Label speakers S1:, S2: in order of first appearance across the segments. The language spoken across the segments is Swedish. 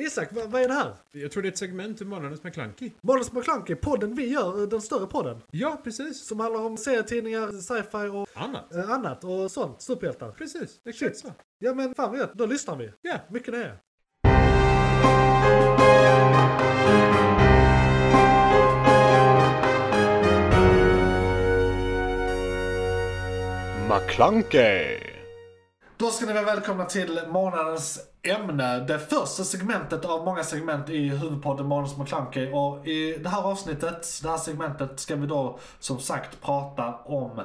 S1: Isak, vad, vad är det här?
S2: Jag tror det är ett segment ur Månadens McKlunky.
S1: Månadens McKlunky, podden vi gör, eh, den större podden.
S2: Ja, precis.
S1: Som handlar om serietidningar, sci-fi och
S2: Annat.
S1: eh, annat och sånt. Superhjältar.
S2: Precis, exakt så.
S1: Ja men fan vad gött, då lyssnar vi.
S2: Ja.
S1: Mycket nöje.
S3: McClunkey!
S1: Då ska ni vara välkomna till månadens ämne. Det första segmentet av många segment i huvudpodden Månadens McKlunky. Och i det här avsnittet, det här segmentet, ska vi då som sagt prata om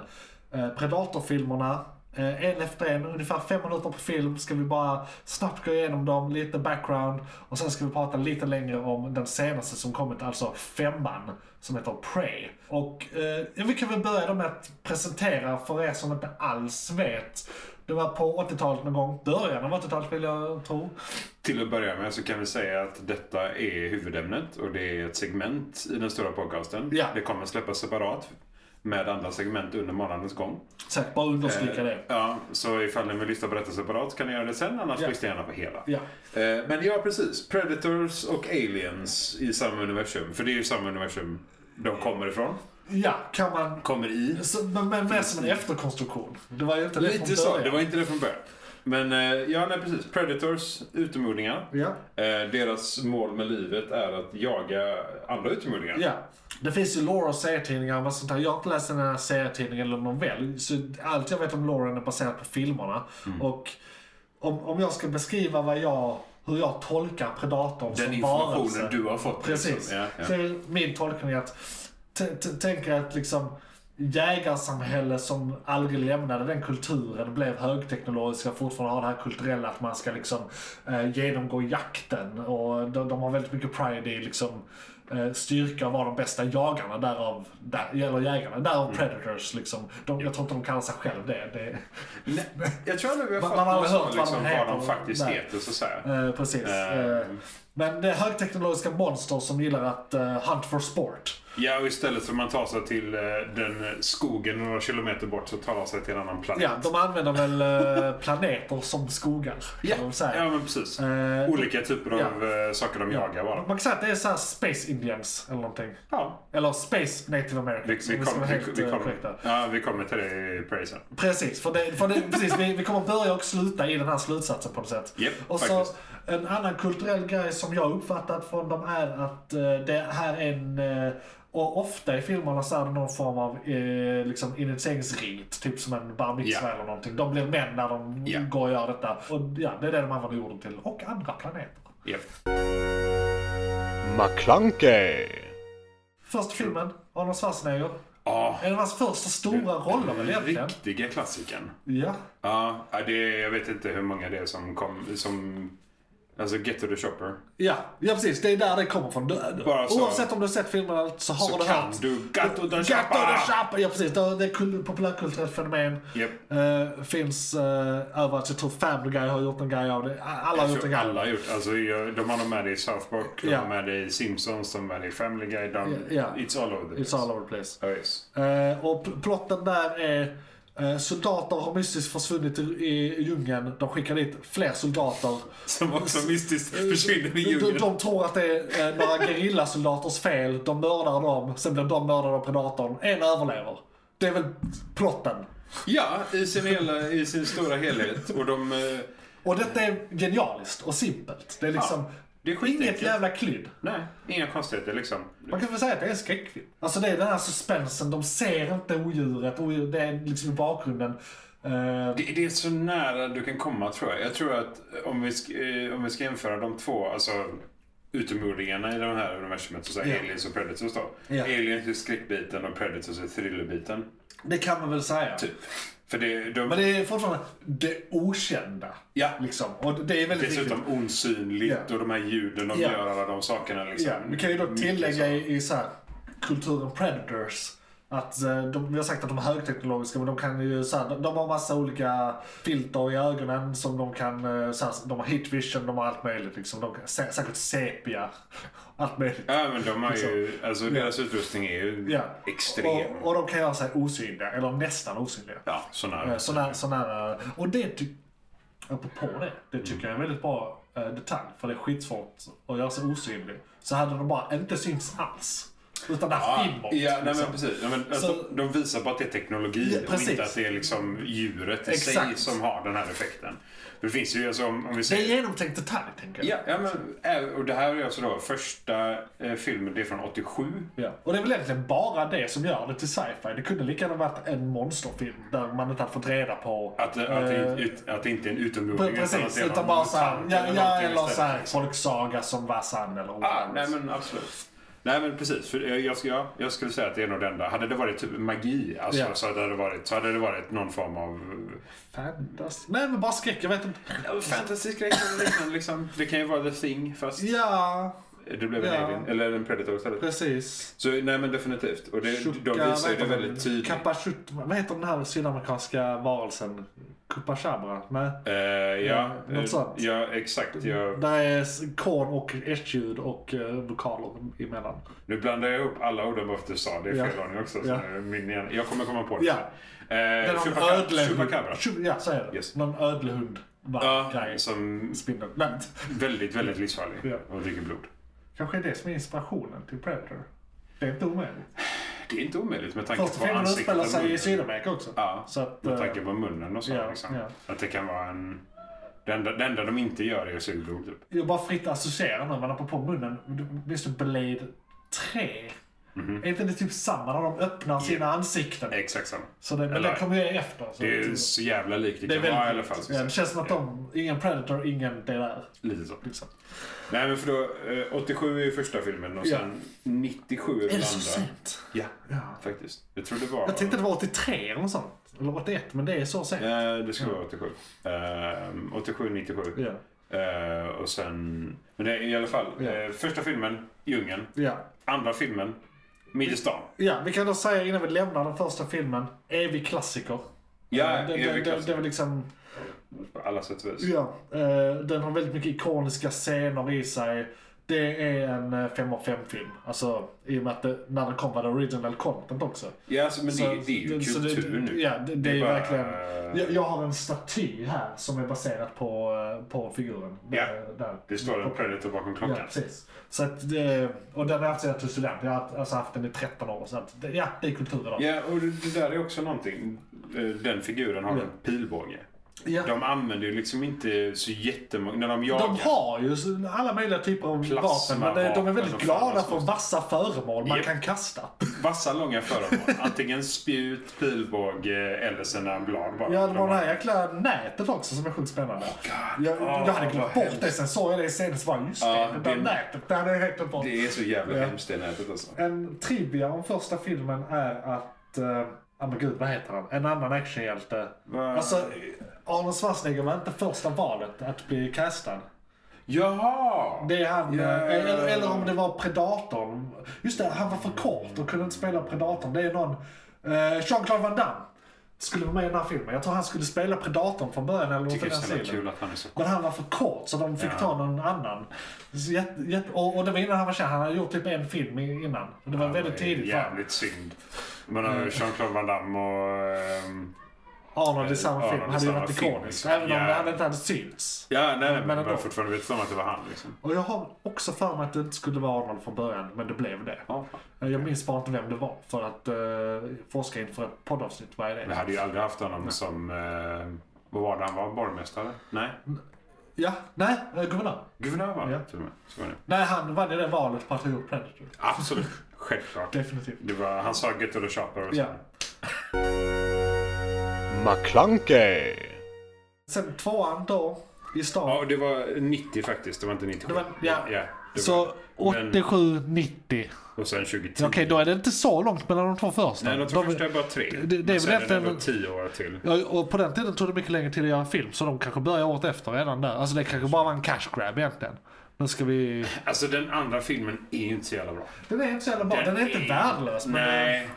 S1: eh, Predator-filmerna. Eh, en efter en, ungefär fem minuter på film, ska vi bara snabbt gå igenom dem, lite background. Och sen ska vi prata lite längre om den senaste som kommit, alltså femman, som heter Prey. Och eh, ja, vi kan väl börja då med att presentera för er som inte alls vet. Det var på 80-talet någon gång, början av 80-talet vill jag tro.
S4: Till att börja med så kan vi säga att detta är huvudämnet och det är ett segment i den stora podcasten.
S1: Ja.
S4: Det kommer släppas separat med andra segment under månadens gång.
S1: Säkert bara
S4: Eh,
S1: understryka det.
S4: Ja, så ifall ni vill lyssna på detta separat kan ni göra det sen, annars
S1: Ja.
S4: lyssna gärna på hela.
S1: Ja.
S4: Eh, Men ja, precis. Predators och Aliens i samma universum. För det är ju samma universum de kommer ifrån.
S1: Ja, kan man.
S4: Kommer i.
S1: Så, men, men mer som en efterkonstruktion. Det var ju inte det
S4: Lite så. Det var inte det från början. Men eh, ja, nej precis. Predators, utomjordingar.
S1: Ja.
S4: Eh, deras mål med livet är att jaga andra utomjordingar.
S1: Ja. Det finns ju lore och serietidningar och sånt här. Jag har inte läst den här serietidningen eller novell. Så allt jag vet om loren är baserat på filmerna.
S4: Mm.
S1: Och om, om jag ska beskriva vad jag, hur jag tolkar Predatorn
S4: Den
S1: som
S4: informationen
S1: varelse,
S4: du har fått.
S1: Precis.
S4: Liksom. Ja, ja.
S1: Så är min tolkning att, t- t- tänk er att liksom jägarsamhälle som aldrig lämnade den kulturen, blev högteknologiska, fortfarande har det här kulturella att man ska liksom eh, genomgå jakten och de, de har väldigt mycket pride i liksom eh, styrka och vara de bästa jagarna, därav, där, eller jägarna, därav
S4: Mm.
S1: predators liksom. De, jag tror inte de kallar sig själv det. det
S4: Nej, jag tror aldrig vi har
S1: Man-
S4: fått
S1: man har
S4: någon
S1: aldrig hört vad
S4: sån, liksom,
S1: de
S4: vad
S1: heter
S4: de
S1: och-
S4: faktiskt
S1: nej.
S4: heter. Så, så här.
S1: Eh, precis.
S4: Eh.
S1: Eh, men det är högteknologiska monster som gillar att eh, hunt for sport.
S4: Ja, och istället för att man tar sig till eh, den skogen några kilometer bort så tar man sig till en annan planet.
S1: Ja, de använder väl eh, planeter som skogar. Kan
S4: ja.
S1: man väl säga.
S4: ja men precis.
S1: Eh,
S4: Olika typer av eh, saker de jagar bara.
S1: Man kan säga att det är så här Space Indians eller någonting.
S4: Ja,
S1: Eller Space Native Americans.
S4: vi,
S1: om
S4: vi,
S1: vi ska vara
S4: kommer, vi,
S1: helt,
S4: vi,
S1: eh,
S4: kommer,
S1: korrekta.
S4: ja, vi kommer till det i Prey sen.
S1: Precis, för, det, för det, precis, vi, vi kommer börja och sluta i den här slutsatsen på något sätt.
S4: Japp,
S1: och så,
S4: faktiskt.
S1: en annan kulturell grej som jag uppfattat från dem är att eh, det här är en eh, och ofta i filmerna så är det någon form av eh, liksom initieringsrit, typ som en bar mitzvah
S4: Ja.
S1: eller någonting. De blir män när de
S4: Ja.
S1: går och gör detta. Och ja, det är det de använder jorden till. Och andra planeter.
S4: Japp.
S3: McClunkey!
S1: Första filmen, Arnold Schwarzenegger.
S4: Ja,
S1: En av hans första stora roller väl egentligen?
S4: riktiga klassikern.
S1: Ja.
S4: Ja, ja, det, jag vet inte hur många det är som kom... Som, alltså Get to the Shopper.
S1: ja. Ja, precis. Det är där det kommer från. Du, du-
S4: Bara så.
S1: Oavsett om du har sett filmen eller inte så har
S4: Så
S1: du
S4: kan
S1: hört.
S4: du Gato
S1: Gato
S4: da
S1: da
S4: Chapa!
S1: Chapa! Ja, precis. Det det är kul- populärkulturellt fenomen.
S4: Japp.
S1: Eh, finns eh, överallt. Jag tror Family Guy har gjort en grej av det. Alla har
S4: Jag
S1: gjort en
S4: tror
S1: grej.
S4: alla har gjort. Alltså, jag- de har nog med det i South Park, de
S1: Ja.
S4: har med det i Simpsons, de har med det i Family Guy. De,
S1: Ja, ja.
S4: It's all over the
S1: It's all over the place.
S4: Ja, yes.
S1: Eh, och pl- plotten där är eh, soldater har mystiskt försvunnit i, i djungeln. De skickar dit fler soldater.
S4: Som också mystiskt försvinner i
S1: De,
S4: djungeln.
S1: de tror att det är eh, några gerillasoldaters fel. De mördar dem, sen blir de mördade av predatorn. En överlever. Det är väl plotten.
S4: Ja, i sin, hela, i sin stora helhet. Och de... eh,
S1: Och detta är genialiskt och simpelt. Det är liksom
S4: Ja, det är skitenkelt.
S1: inget jävla klyd.
S4: Nej, inga konstigheter liksom.
S1: Man kan väl säga att det är en skräckfilm. Alltså det är den här suspensen, de ser inte odjuret. odjuret det är liksom i bakgrunden. Eh,
S4: Det, det är så nära du kan komma tror jag. Jag tror att om vi, sk- eh, om vi ska jämföra de två, alltså utomjordingarna i det här universumet, så säger
S1: Ja.
S4: aliens och predators då.
S1: Ja.
S4: Aliens är skräckbiten och predators är thrillerbiten.
S1: det kan man väl säga.
S4: Typ. För det, de,
S1: Men det är fortfarande det okända.
S4: Ja.
S1: Liksom. Och det är väldigt viktigt.
S4: dessutom osynligt
S1: Ja.
S4: och de här ljuden de
S1: Ja.
S4: gör, alla de sakerna liksom.
S1: Ja, vi kan ju då
S4: Mycket
S1: tillägga
S4: så.
S1: i, i så här, kulturen Predators. Att eh, de, vi har sagt att de är högteknologiska men de kan ju så här, de, de har massa olika filter i ögonen som de kan, eh, så här, de har hit vision, de har allt möjligt liksom. De kan, sä, säkert sepia, allt möjligt.
S4: Ja men de har ju, alltså deras utrustning är ju
S1: Liksom. Ja.
S4: extrem.
S1: Och, och de kan göra sig osynliga, eller nästan osynliga.
S4: ja, så nära.
S1: Eh, Så nära, så nära. Och eh, det ty- apropå det. Det
S4: Mm.
S1: tycker jag är en väldigt bra eh, detalj. För det är skitsvårt att göra sig osynlig. Så hade de bara inte synts alls. Utan där
S4: Ja,
S1: inåt.
S4: ja nej,
S1: liksom.
S4: men precis. Ja, men, alltså,
S1: Så-
S4: de visar på att det är teknologi
S1: Ja,
S4: och
S1: precis.
S4: inte att det är liksom djuret i sig
S1: Exakt.
S4: som har den här effekten. För det finns ju, alltså, om, om vi
S1: Det är en
S4: säger...
S1: genomtänkt detalj, tänker jag.
S4: Ja, ja, men, äh, och det här är alltså då första eh, filmen, det är från 87.
S1: Ja. Och det är väl egentligen bara det som gör det till sci-fi. Det kunde lika gärna varit en monsterfilm där man inte hade fått reda på...
S4: Att, eh, att, det, ut, att det inte är en utomjording
S1: Pre-
S4: utan att
S1: Precis,
S4: det är någon
S1: utan bara såhär,
S4: mutant
S1: ja, ja,
S4: någonting
S1: eller
S4: istället,
S1: såhär
S4: liksom.
S1: folksaga som var sann eller
S4: Ah,
S1: osann.
S4: nej men absolut. Nej men precis, för jag, jag, jag, jag skulle säga att det är nog det enda. Hade det varit typ magi alltså,
S1: Ja.
S4: så, hade det varit, så hade det varit någon form av...
S1: Fantasy. Nej men bara skräck, jag vet inte.
S4: Fantasy-skräck eller liknande liksom. Det kan ju vara The Thing fast
S1: Ja,
S4: det blev en
S1: Ja.
S4: alien. Eller en Predator istället.
S1: precis.
S4: Så nej men definitivt. Och det, de visar ju det väldigt tydligt.
S1: Kapashut, vad heter den här sydamerikanska varelsen? Kupachabra? Nej.
S4: Eh, ja,
S1: något
S4: eh,
S1: sånt.
S4: ja, exakt. Jag,
S1: Där är s- korn och S-ljud och eh, vokaler emellan.
S4: nu blandar jag ihop alla orden bara för att du sa det i
S1: Ja.
S4: fel ordning också. Så
S1: Ja.
S4: nu är min hjärna, jag kommer komma på det.
S1: Ja.
S4: Eh,
S1: Det är någon
S4: Chupacabra-
S1: ödlehund.
S4: Chupacabra.
S1: Chup- Ja, så är det.
S4: Yes.
S1: Någon ödlehund.
S4: Ja,
S1: grej.
S4: som
S1: Spindel. Nej,
S4: Väldigt, väldigt livsfarlig.
S1: Ja.
S4: Och dricker blod.
S1: kanske är det som är inspirationen till Predator. Det är inte omöjligt.
S4: Det är inte omöjligt med tanke
S1: Första
S4: på
S1: filmen
S4: ansiktet.
S1: utspelar
S4: och
S1: sig i
S4: munnen.
S1: Sydamerika också.
S4: Ja,
S1: Så att,
S4: med
S1: eh,
S4: tanke på munnen och så.
S1: ja,
S4: liksom.
S1: ja.
S4: Att det kan vara en... Det enda, det enda de inte gör är att suga blod. Typ.
S1: Jag bara fritt associerar nu, men apropå munnen. du- Visst du Blade 3?
S4: Mhm.
S1: Är inte det typ samma när de öppnar sina ansikten?
S4: Exakt samma.
S1: Så det, men
S4: Eller-
S1: det kommer ju efter. Så
S4: Det är så jävla likt det,
S1: Mm. det är
S4: kan vara i alla
S1: väldigt...
S4: fall. som
S1: ja, det
S4: sagt.
S1: känns som att de... Ingen Predator, ingen det där.
S4: Lite så.
S1: Liksom.
S4: Nej men för då, eh, 87 är ju första filmen och
S1: Ja.
S4: sen 97 är den
S1: Är det så
S4: andra.
S1: sent?
S4: Ja,
S1: Ja.
S4: faktiskt. Jag tror det var...
S1: Jag tänkte det var 83 eller något sånt. Eller 81, men det är så sent.
S4: Eh, det skulle vara 87. Eh, 87, 97.
S1: Ja.
S4: Eh, och sen... Men det är i alla fall.
S1: Ja.
S4: Eh, första filmen, Djungeln.
S1: Ja.
S4: Andra filmen, Midgestan.
S1: ja, vi kan då säga innan vi lämnar den första filmen. Evig klassiker.
S4: Ja,
S1: det, det,
S4: evig
S1: det, det
S4: klassiker.
S1: var liksom...
S4: På alla sätt och vis.
S1: Ja, eh, den har väldigt mycket ikoniska scener i sig. Det är en eh, fem av fem film. Alltså i och med att det, när den kom var det original content också.
S4: Ja, alltså, men
S1: Så-
S4: det, det är ju
S1: så
S4: kultur nu.
S1: Ja, det, det,
S4: Det är
S1: är
S4: bara-
S1: verkligen. Jag, jag har en staty här som är baserad på, eh, på figuren.
S4: Ja,
S1: Där- där.
S4: Det står en predator bakom klockan.
S1: Ja, precis. Så att det, och den har jag haft sedan jag tog student. Jag har haft- alltså haft den i 13 år. Så att, det- ja, det är kultur idag.
S4: Ja, och det det där är också någonting. Eh, Den figuren har
S1: Ja.
S4: en pilbåge.
S1: Ja.
S4: De använder ju liksom inte så jättemånga... När de jagar...
S1: De har ju så- alla möjliga typer av vapen, men det- de är
S4: Plasmavapen
S1: väldigt
S4: och
S1: glada
S4: fan
S1: för
S4: vad
S1: vassa föremål man
S4: Japp.
S1: kan kasta.
S4: Vassa långa föremål. Antingen spjut, pilbåge eller sina blad bara.
S1: Ja, det var
S4: De
S1: det
S4: har-
S1: här jäkla nätet också som är sjukt spännande. jag,
S4: Ah,
S1: jag hade glömt
S4: vad
S1: bort
S4: hemskt.
S1: det, sen såg jag det i scenen så bara just det,
S4: Ja,
S1: det där
S4: det-
S1: nätet, det hade jag helt glömt bort.
S4: Det är så jävla
S1: Ja.
S4: hemskt det nätet alltså.
S1: En trivia om första filmen är att, eh, ja men gud vad heter han? En annan actionhjälte.
S4: Va?
S1: Alltså, Arnold Schwarzenegger var inte första valet att bli castad.
S4: Jaha!
S1: Det är han,
S4: Ja.
S1: eh, eller, eller om det var Predatorn. Just det, han var för kort och kunde inte spela Predatorn. Det är någon, eh, Jean-Claude Van Damme skulle vara med i den här filmen. Jag tror han skulle spela Predatorn från början eller något i
S4: Tycker
S1: den
S4: det är så jävla kul
S1: stilen.
S4: att han är så
S1: Men han var för kort så de fick ta någon annan. Så jätte, jätte, och, och det var innan han var känd. Han hade gjort typ en film i- innan. Och det var väldigt tidigt för honom.
S4: Jävligt synd. Men mm. Jean-Claude Van Damme och... ehm,
S1: Arnold i samma
S4: Arnold
S1: film
S4: i
S1: hade ju
S4: samma
S1: varit
S4: film,
S1: ikonisk.
S4: liksom.
S1: Även om
S4: Ja.
S1: han inte hade synts.
S4: ja, nej, men,
S1: Men
S4: men
S1: ändå.
S4: fortfarande vet om att det var han liksom.
S1: Och jag har också för mig att det inte skulle vara Arnold från början, men det blev det.
S4: Ja, fan.
S1: Eh, Jag minns bara inte vem det var för att uh, forska inför ett poddavsnitt. Vad är
S4: Vi
S1: det?
S4: hade ju aldrig haft honom som... Eh, vad var det han var? Borgmästare? Nej.
S1: Ja, nej, eh, guvernör.
S4: Guvernör var
S1: Ja.
S4: han till och med. Så var det.
S1: Nej, han vann ju det valet på att ha gjort Predator.
S4: Absolut. Självklart.
S1: Definitivt.
S4: Det var, han sa Get to the shopper och så.
S1: Ja.
S3: McClunkey.
S1: Sen tvåan då, i stan.
S4: Ja, och det var 90 faktiskt. Det var inte 97.
S1: Det var- ja.
S4: det var-
S1: Så
S4: men-
S1: 87, 90.
S4: Och sen 2010.
S1: Okej, då är det inte så långt mellan de två första.
S4: Nej, de två första är bara tre.
S1: det- det är
S4: Men
S1: väl
S4: sen är
S1: egentligen-
S4: ändå tio år till.
S1: Ja, och på den tiden tog det mycket längre tid att göra film, så de kanske börjar året efter redan där. Alltså det kanske bara var en cash grab egentligen. Nu ska vi...
S4: Alltså den andra filmen är ju inte så jävla bra.
S1: Den är inte så jävla bra. Den, är inte värdelös. men-
S4: Nej.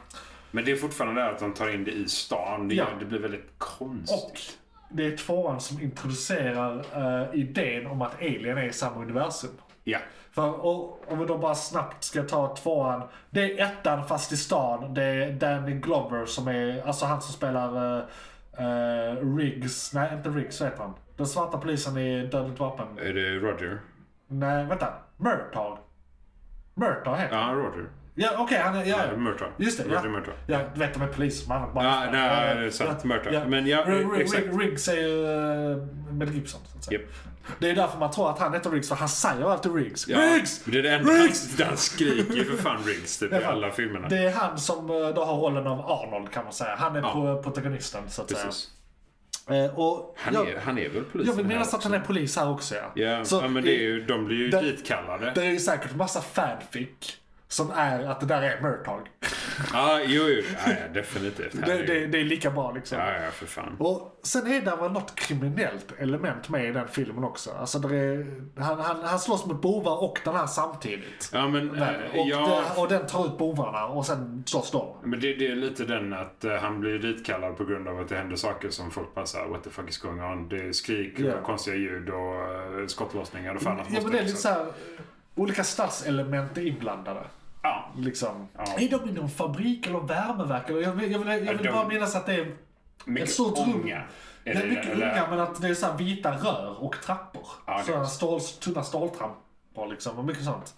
S4: Men det är fortfarande det här att de tar in det i stan. Det,
S1: Ja.
S4: gör, det blir väldigt konstigt.
S1: Och det är tvåan som introducerar eh, idén om att Alien är i samma universum.
S4: Ja.
S1: För och, om vi då bara snabbt ska ta tvåan. Det är ettan fast i stan. Det är Danny Glover som är, alltså han som spelar eh, eh, Riggs, nej inte Riggs vad heter han? Den svarta polisen i Dödligt Vapen.
S4: Är det Roger?
S1: Nej, vänta. Murtaugh. Murtaugh heter han.
S4: Ja, Roger.
S1: Ja, okej. han är... Ja,
S4: Nej, Murtaugh.
S1: Just det,
S4: Roger
S1: ja.
S4: Murtaugh.
S1: Ja, du vet de är polisman.
S4: Ja, nej, det är sant. Murtaugh. Men ja, exakt.
S1: Riggs är ju eh, Mel Gibson, så att säga.
S4: Japp.
S1: Det är därför man tror att han heter Riggs, för han säger alltid Riggs.
S4: Ja,
S1: Riggs!
S4: Det är det enda
S1: Riggs!
S4: han, han skriker ju för fan Riggs typ i alla filmerna.
S1: Det är han som eh, då har rollen av Arnold, kan man säga. Han är
S4: Ja.
S1: pro- protagonisten, så att
S4: Precis.
S1: säga. Eh, Och
S4: Han,
S1: jag,
S4: är, han är väl
S1: jag
S4: polisen
S1: vill
S4: här
S1: minnas att
S4: också?
S1: han är polis här också, ja.
S4: Ja,
S1: Så
S4: ja, men
S1: i-
S4: det är ju, de blir ju
S1: det-
S4: ditkallade.
S1: Det är ju säkert massa fanfic som är att det där är Murtaugh.
S4: Ja, jo, jo. Ja, ja, definitivt.
S1: Det,
S4: Herregud.
S1: det, det är lika bra liksom.
S4: Ja, ja, för fan.
S1: Och sen är det väl något kriminellt element med i den filmen också. Alltså det är, han, han, han slåss mot bovar och den här samtidigt.
S4: Ja, men,
S1: Men,
S4: eh,
S1: och,
S4: ja,
S1: det, och den tar ut bovarna och sen slåss de.
S4: men det, det är lite den att eh, han blir ditkallad på grund av att det händer saker som folk bara såhär, what the fuck is going on? Det är skrik
S1: Ja.
S4: och konstiga ljud och eh, skottlossningar och fan att
S1: Ja men det är lite
S4: liksom-
S1: såhär, olika stadselement är inblandade.
S4: Ja,
S1: Liksom.
S4: Ja.
S1: Är de i någon fabrik eller värmeverk? Eller Jag vill, jag vill, jag vill
S4: de-
S1: bara minnas att det är,
S4: mycket
S1: Ett stort rum.
S4: ånga.
S1: det
S4: Är
S1: är mycket
S4: eller-
S1: unga men att det är så här vita rör och trappor.
S4: Ja, det är
S1: Sådana
S4: också.
S1: stål, tunna ståltrappor liksom och mycket sånt.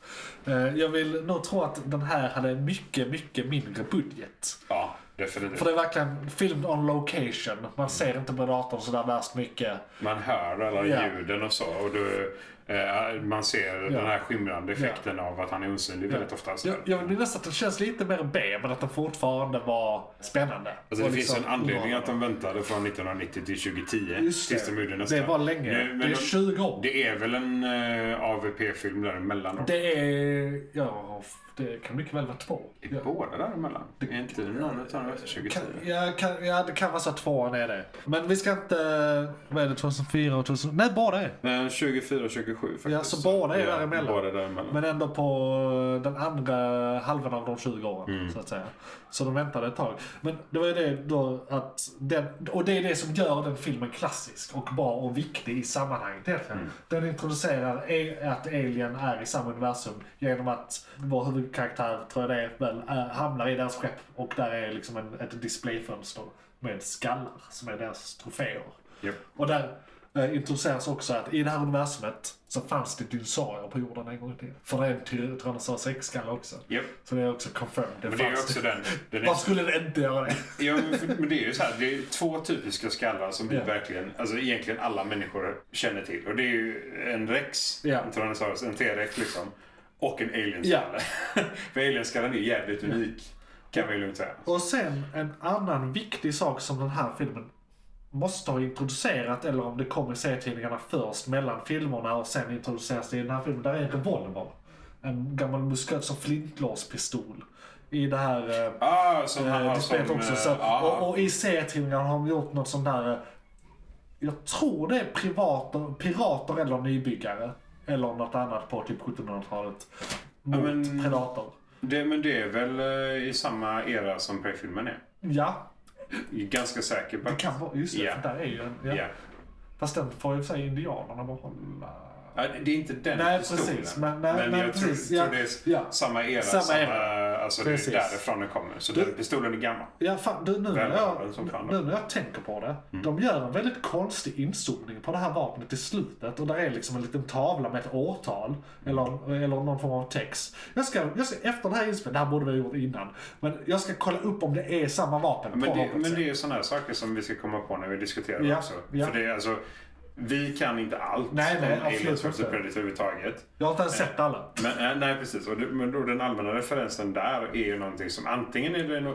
S1: Eh, Jag vill nog tro att den här hade mycket, mycket mindre budget.
S4: Ja, definitivt.
S1: För det är verkligen film on location. Man ser inte på datorn sådär värst mycket.
S4: Man hör alla
S1: Ja.
S4: ljuden och så. Och du, eh, man ser den här skimrande effekten av att han är osynlig väldigt ofta. Så.
S1: Jag, jag vill minnas att den känns lite mer B, men att den fortfarande var spännande.
S4: Alltså det
S1: Och
S4: finns
S1: liksom
S4: en anledning att
S1: underhållande.
S4: de väntade från 1990 till 2010.
S1: Just
S4: tills
S1: det.
S4: de gjorde nästa.
S1: Det var länge.
S4: Nu, men
S1: det är 20 år.
S4: det är väl en eh, AVP-film däremellan? Det...
S1: Det är... Ja, det kan mycket väl vara två. Ja.
S4: Är båda däremellan? Det... Är inte den andra utan efter 2010?
S1: Kan, ja, kan, ja, det kan vara så att tvåan är det. Men vi ska inte... Vad är det? 2004 och 2000... Nej, båda är.
S4: Nej, 24 och 27 faktiskt.
S1: Ja, så båda är däremellan.
S4: Båda är däremellan.
S1: Men ändå på eh, den andra halvan av de 20 åren. Så att säga. Så de väntade ett tag. Men det var ju det då att den, och det är det som gör den filmen klassisk och bra och viktig i sammanhanget egentligen. Den introducerar a- att Alien är i samma universum genom att vår huvudkaraktär, tror jag det är, väl, eh, hamnar i deras skepp och där är liksom en, ett displayfönster med skallar som är deras troféer.
S4: Japp.
S1: Och där eh, introduceras också att i det här universumet så fanns det dinosaurier på jorden en gång i tiden. För det är en ty- Tyrannosaurus rex-skalle också.
S4: Japp.
S1: Så det är också confirmed. Det
S4: Men det är ju
S1: fanns
S4: också
S1: det.
S4: den. den är
S1: Varför skulle det inte göra det?
S4: Ja, men, för, men det är ju så här, det är två typiska skallar som vi
S1: Ja.
S4: verkligen, alltså egentligen alla människor känner till. Och det är ju en rex,
S1: Ja.
S4: en tyrannosaurus, en T-rex liksom. Och en alienskalle. för alienskallen är ju jävligt unik. Kan vi lugnt säga.
S1: Och sen en annan viktig sak som den här filmen måste ha introducerat, eller om det kom i serietidningarna först mellan filmerna och sen introduceras det i den här filmen, där är en revolver. En gammal musköt som flintlåspistol. I det här... eh,
S4: Ah, som han
S1: Eh,
S4: har
S1: det
S4: som...
S1: spelet också.
S4: eh,
S1: Så,
S4: ah,
S1: och, och i serietidningarna har de gjort något sånt där, eh, jag tror det är privater, pirater eller nybyggare. Eller något annat på typ 1700-talet. Mot
S4: men-
S1: predator.
S4: det, men det är väl eh, i samma era som Prey-filmen är.
S1: Ja,
S4: Jag är Ganska säker på.
S1: det kan vara, just det,
S4: Ja.
S1: för där är ju en. Ja.
S4: Ja.
S1: Fast den får ju säga indianerna behålla.
S4: Ja, det är inte den
S1: Nej,
S4: pistolen.
S1: precis. Men- nej, nej,
S4: jag
S1: precis.
S4: tror,
S1: Ja.
S4: tror det är s-
S1: Ja.
S4: samma era.
S1: Samma
S4: Samma,
S1: era.
S4: Alltså det
S1: Precis.
S4: är därifrån det kommer. Så den pistolen är gammal.
S1: Ja, fan, du, nu, när jag,
S4: Välbevarad som fan. Mm.
S1: nu när jag tänker på det. De gör en väldigt konstig inzoomning på det här vapnet i slutet. Och där är liksom en liten tavla med ett årtal. Eller, eller någon form av text. Jag ska, jag ska efter det här inspelningen, det här borde vi ha gjort innan. Men jag ska kolla upp om det är samma vapen
S4: Men
S1: på
S4: det,
S1: något
S4: men
S1: sätt.
S4: det är sådana här saker som vi ska komma på när vi diskuterar
S1: Ja,
S4: också.
S1: ja.
S4: För det är alltså, vi kan inte allt
S1: Nej, nej,
S4: om
S1: absolut
S4: Aliens vs
S1: inte.
S4: Predator överhuvudtaget.
S1: Jag har inte ens sett alla.
S4: Men, eh, nej, precis. Och det, men då den allmänna referensen där är ju någonting som antingen är det en,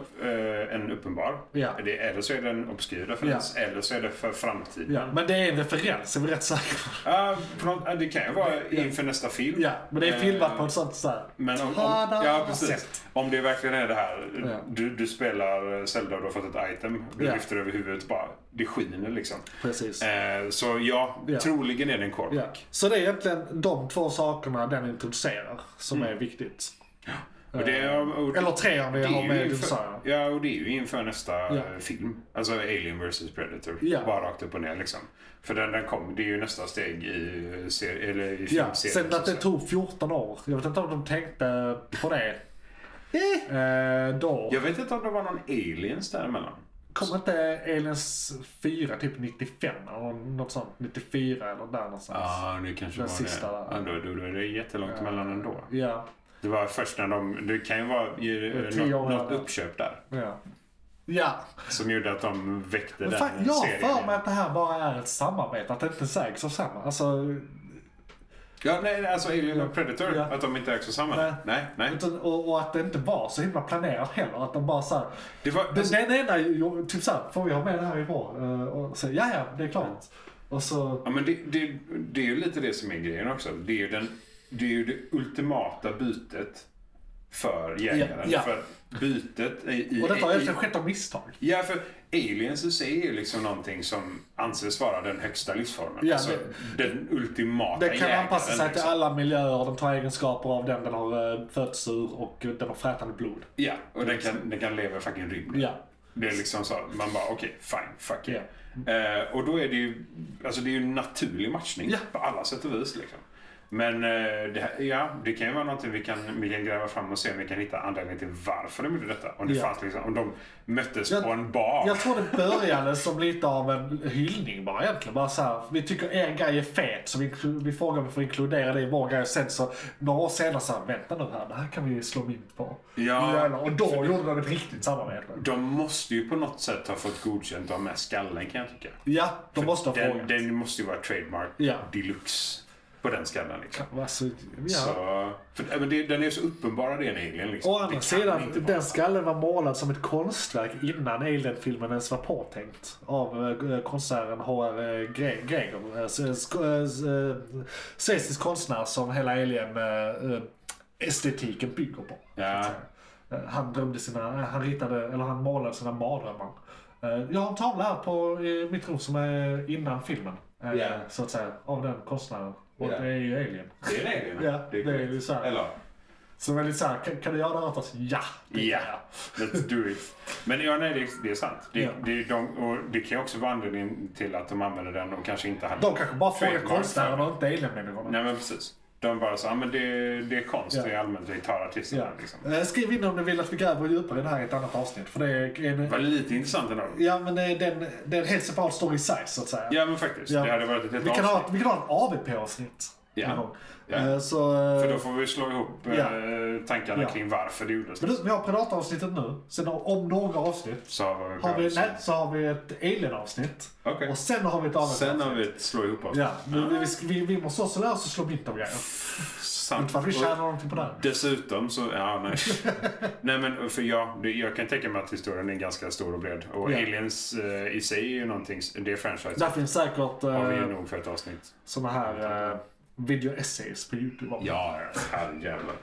S4: eh, en uppenbar,
S1: Ja.
S4: det, eller så är det en obskyr referens, eller så är det för framtiden.
S1: Ja, men det är en referens, är vi rätt säkra på.
S4: Ja, på något, eh, det kan ju vara inför nästa film.
S1: Ja, men det är
S4: Eh,
S1: filmat på ett sånt såhär...
S4: Men om, om,
S1: Tada!
S4: ja, precis.
S1: Sätt.
S4: om det verkligen är det här.
S1: Ja.
S4: Du, du spelar Zelda och du har fått ett item. Du
S1: Ja.
S4: lyfter över huvudet bara. Det skiner liksom.
S1: Precis.
S4: Eh, så ja,
S1: Ja.
S4: troligen är det en korv.
S1: Ja. Så det är egentligen de två sakerna den introducerar som
S4: Mm.
S1: är viktigt.
S4: Och det, är- och,
S1: Eller tre om vi
S4: det är
S1: har
S4: ju
S1: med
S4: inför,
S1: dinosaurier.
S4: Ja, och det är ju inför nästa
S1: Ja.
S4: eh, film. Alltså Alien vs Predator.
S1: Ja.
S4: Bara rakt upp och ner liksom. För den, den kom, det är ju nästa steg i, eh, ser, eller i
S1: Ja,
S4: filmserien.
S1: sen
S4: så
S1: att det
S4: säga.
S1: tog 14 år. Jag vet inte om de tänkte på det eh, då.
S4: Jag vet inte om det var någon aliens däremellan.
S1: Kommer inte Aliens 4 typ 95 eller något sånt? 94 eller där någonstans.
S4: Ja, det kanske
S1: Den
S4: var
S1: sista
S4: det.
S1: där.
S4: Ja, då, då, då är det jättelångt mellan ändå.
S1: Ja,
S4: Det var först när de... Det kan ju vara ju,
S1: tio år
S4: något, något
S1: mellan.
S4: uppköp där
S1: ja. Ja,
S4: som gjorde att de väckte
S1: men
S4: den
S1: fan, jag har för
S4: serien.
S1: mig att det här bara är ett samarbete, att det inte sägs av samma. Alltså,
S4: Ja, nej, alltså Alien och Predator.
S1: Ja.
S4: Att de inte ägs av samma.
S1: Nej.
S4: Nej, nej.
S1: utan, och, och att det inte var så himla planerat heller. Att de bara såhär,
S4: Det var... alltså,
S1: Den, den ena, jo, typ såhär, får vi ha med det här i vår? Eh, Och så, ja, ja, det är klart. Och så,
S4: Ja, men det, det, det är ju lite det som är grejen också. Det är ju, den, det, är ju det ultimata bytet för jägaren.
S1: Ja, ja.
S4: För att bytet i... i
S1: och detta har
S4: i-
S1: egentligen skett av misstag.
S4: Ja, för aliens i sig är ju liksom någonting som anses vara den högsta livsformen.
S1: Ja,
S4: alltså, den ultimata
S1: Den kan
S4: jägaren,
S1: anpassa sig till
S4: liksom.
S1: alla miljöer, den tar egenskaper av den den har eh, fötts ur och den har frätande blod.
S4: Ja, och den kan, den kan leva i fucking rymden.
S1: Ja.
S4: Det är liksom så, man bara okej, fine, fuck yeah. Eh, och då är det ju, alltså det är ju en naturlig matchning
S1: Ja.
S4: på alla sätt och vis. Liksom. Men eh, det, här, ja, det kan ju vara någonting vi kan, vi kan gräva fram och se om vi kan hitta anledningen till varför de gjorde detta. Om, det
S1: Ja.
S4: fanns liksom, om de möttes
S1: Jag-
S4: på en bar.
S1: Jag tror det började som lite av en hyllning bara egentligen. Bara så här, vi tycker er grej är fet så vi, vi frågar om vi får inkludera det i vår grej. Och Sen så några år senare så här, vänta nu här, det här kan vi slå mynt på.
S4: Ja.
S1: Jävlar, Och då gjorde de ett riktigt samarbete.
S4: De måste ju på något sätt ha fått godkänt av med skallen kan jag tycka.
S1: Ja, de måste ha
S4: Den,
S1: frågat.
S4: den måste ju vara trademark
S1: Ja.
S4: deluxe på den skallen. Liksom.
S1: Alltså, ja.
S4: Så, för, ja, men det, den är ju så uppenbara den alien. Liksom.
S1: Å
S4: Det
S1: andra
S4: kan inte
S1: sidan,
S4: vara-
S1: den skallen var målad som ett konstverk innan Alien-filmen ens var påtänkt. Av eh, konstnären H.R. Gre- Gregor. eh, s- sk- eh, s- eh, Schweizisk konstnär som hela Alien-estetiken bygger på. så att
S4: Ja.
S1: säga. Eh, Han drömde sina, eh, han ritade, eller han målade sina mardrömmar. Eh, Jag har en tavla här på i mitt rum som är innan filmen. eh,
S4: Ja.
S1: Så att säga, av den konstnären. Och
S4: Ja.
S1: det är ju Alien.
S4: Det är en alien.
S1: Ja, det är
S4: korrekt.
S1: ju så här.
S4: Eller,
S1: Så väldigt såhär, kan, kan du göra det här åt oss? Ja! det kan
S4: ja,
S1: jag."
S4: let's do it. Men ja, nej, det, är- det är sant. Det,
S1: Ja.
S4: det, de, och det kan ju också vara anledningen till att de använder den. De kanske inte hade...
S1: De kanske bara frågar
S4: trademark
S1: konstnären
S4: för-
S1: och inte alien-människorna.
S4: Nej, men precis. De bara så, ja men det, det är konst
S1: Ja.
S4: i allmänt. Vi tar artisterna
S1: Ja.
S4: liksom.
S1: Eh, Skriv in om ni vill att vi gräver djupare i det här i ett annat avsnitt. För det är
S4: Det
S1: en,
S4: var lite intressant ändå.
S1: ja, men det är, den, det är en helt separat story i sig, så att säga.
S4: Ja, men faktiskt.
S1: Ja.
S4: Det hade varit ett helt
S1: vi, kan ha,
S4: avsnitt.
S1: vi kan ha ett AVP-avsnitt.
S4: Ja.
S1: någon gång.
S4: Ja.
S1: Eh, Så,
S4: För
S1: eh,
S4: då får vi slå ihop eh,
S1: Ja.
S4: tankarna
S1: Ja.
S4: kring varför det gjordes.
S1: men nu, vi har Predator-avsnittet nu. Sen om- om några avsnitt
S4: Så har vi,
S1: har vi, nej, så har vi ett alien-avsnitt.
S4: Okej.
S1: Och sen har vi ett avsnitt.
S4: Sen har vi ett slå ihop avsnitt.
S1: Ja, men vi, vi, vi, vi måste också lära oss att slå mitt av grejer.
S4: Sant.
S1: Inte för att vi
S4: Och-
S1: tjänar någonting på det. här.
S4: Dessutom så, ja nej. nej men för jag, det- jag kan tänka mig att historien är ganska stor och bred. Och
S1: Ja.
S4: Aliens eh, i sig är ju någonting, s- det är franchise.
S1: Där finns säkert
S4: har vi ju
S1: eh,
S4: nog för ett avsnitt.
S1: såna här eh, video-essays på YouTube. om.
S4: Ja, herrejävlar.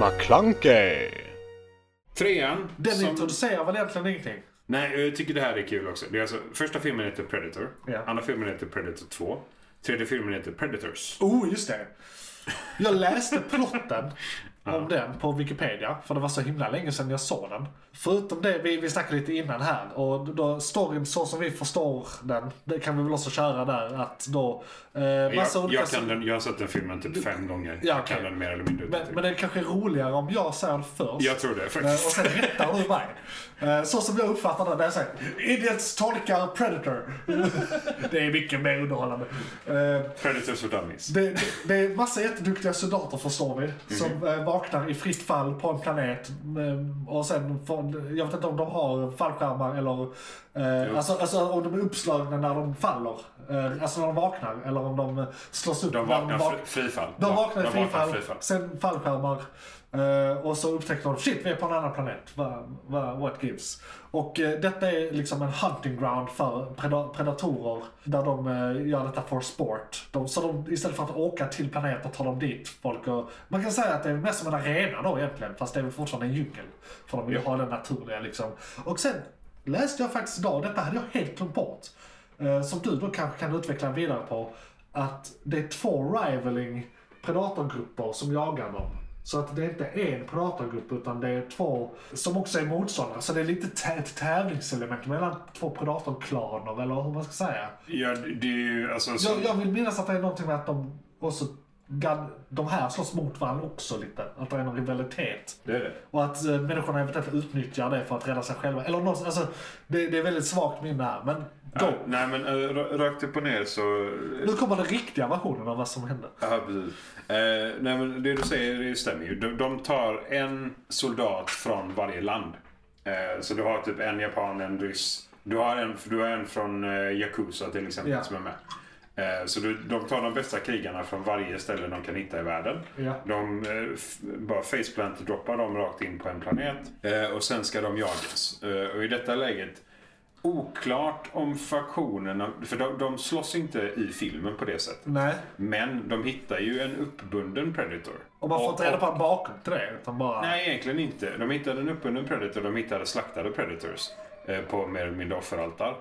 S3: McClunkey.
S4: Trean.
S1: Den
S4: som-
S1: introducerar väl egentligen ingenting?
S4: Nej, jag tycker det här är kul också. Det är alltså, första filmen heter Predator.
S1: Ja.
S4: Andra filmen heter Predator 2. Tredje filmen heter Predators.
S1: Oh, just det. Jag läste plotten om den på Wikipedia, för det var så himla länge sedan jag såg den. Förutom det, vi, vi snackade lite innan här, och då storyn så som vi förstår den, det kan vi väl också köra där att då... Eh, massa
S4: Jag,
S1: olika...
S4: jag, kan den, jag har sett den filmen typ fem gånger.
S1: Ja,
S4: Jag kan
S1: okej.
S4: den mer eller mindre utan
S1: men,
S4: till.
S1: men det kanske är roligare om jag säger det först.
S4: Jag tror det
S1: Eh,
S4: faktiskt.
S1: Och sen rättar du mig. Eh, Så som jag uppfattar det när jag säger idiots tolkar predator. Det är mycket mer underhållande. Eh,
S4: Predators for Dummies.
S1: Det, det, det är massa jätteduktiga soldater förstår vi.
S4: Mhm.
S1: Som eh, vaknar i fritt fall på en planet. mm, Och sen, får- jag vet inte om de har fallskärmar eller... Eh, alltså, alltså om de är uppslagna när de faller. Eh, alltså när de vaknar. Eller om de eh, slås upp
S4: De
S1: när
S4: vaknar
S1: vak-
S4: fri, frifall.
S1: de vaknar i
S4: De
S1: frifall,
S4: frifall.
S1: sen fallskärmar. eh, och så upptäckte de, shit vi är på en annan planet. Va, va, what gives? Och eh, detta är liksom en hunting ground för preda- predatorer. Där de eh, gör detta for sport. De, så de, istället för att åka till planeter tar de dit folk. Och, man kan säga att det är mest som en arena då egentligen. Fast det är väl fortfarande en djungel. För de vill ju ha den naturliga liksom. Och sen läste jag faktiskt idag, detta hade jag helt glömt bort. eh, som du då kanske kan utveckla vidare på. Att det är två rivaling predatorgrupper som jagar dem. Så att det är inte en predatorgrupp utan det är två som också är motståndare. Så det är lite tä- ett tävlingselement mellan två predatorklaner eller hur man ska säga.
S4: Ja, det det är ju alltså...
S1: Jag,
S4: Som,
S1: jag vill minnas att det är någonting med att de också gan- de här slåss mot varandra också lite. Att det är en rivalitet.
S4: Det är det.
S1: Och att eh, människorna eventuellt utnyttjar det för att rädda sig själva. Eller något, alltså, det, det är väldigt svagt minne här. Men go!
S4: Ja, nej men eh, ra- rakt upp och ner så...
S1: Nu kommer den riktiga versionen av vad som hände.
S4: Ja, precis. Eh, nej, men det du säger det stämmer ju. De, de tar en soldat från varje land. Eh, så du har typ en japan, en ryss. Du har en, du har en från eh, Yakuza till exempel
S1: Ja.
S4: som är med. Eh, så du, de tar de bästa krigarna från varje ställe de kan hitta i världen.
S1: Ja.
S4: De eh, f- bara faceplant-droppar dem rakt in på en planet. Eh, och sen ska de jagas. Eh, och i detta läget Oklart om faktionerna, för de, de slåss inte i filmen på det sättet.
S1: Nej,
S4: Men de hittar ju en uppbunden Predator.
S1: och man får inte
S4: Och-
S1: reda på en bakgrund till det. Utan bara...
S4: Nej, egentligen inte. De hittade en uppbunden Predator, de hittade slaktade Predators. Eh, på mer eller mindre offeraltar.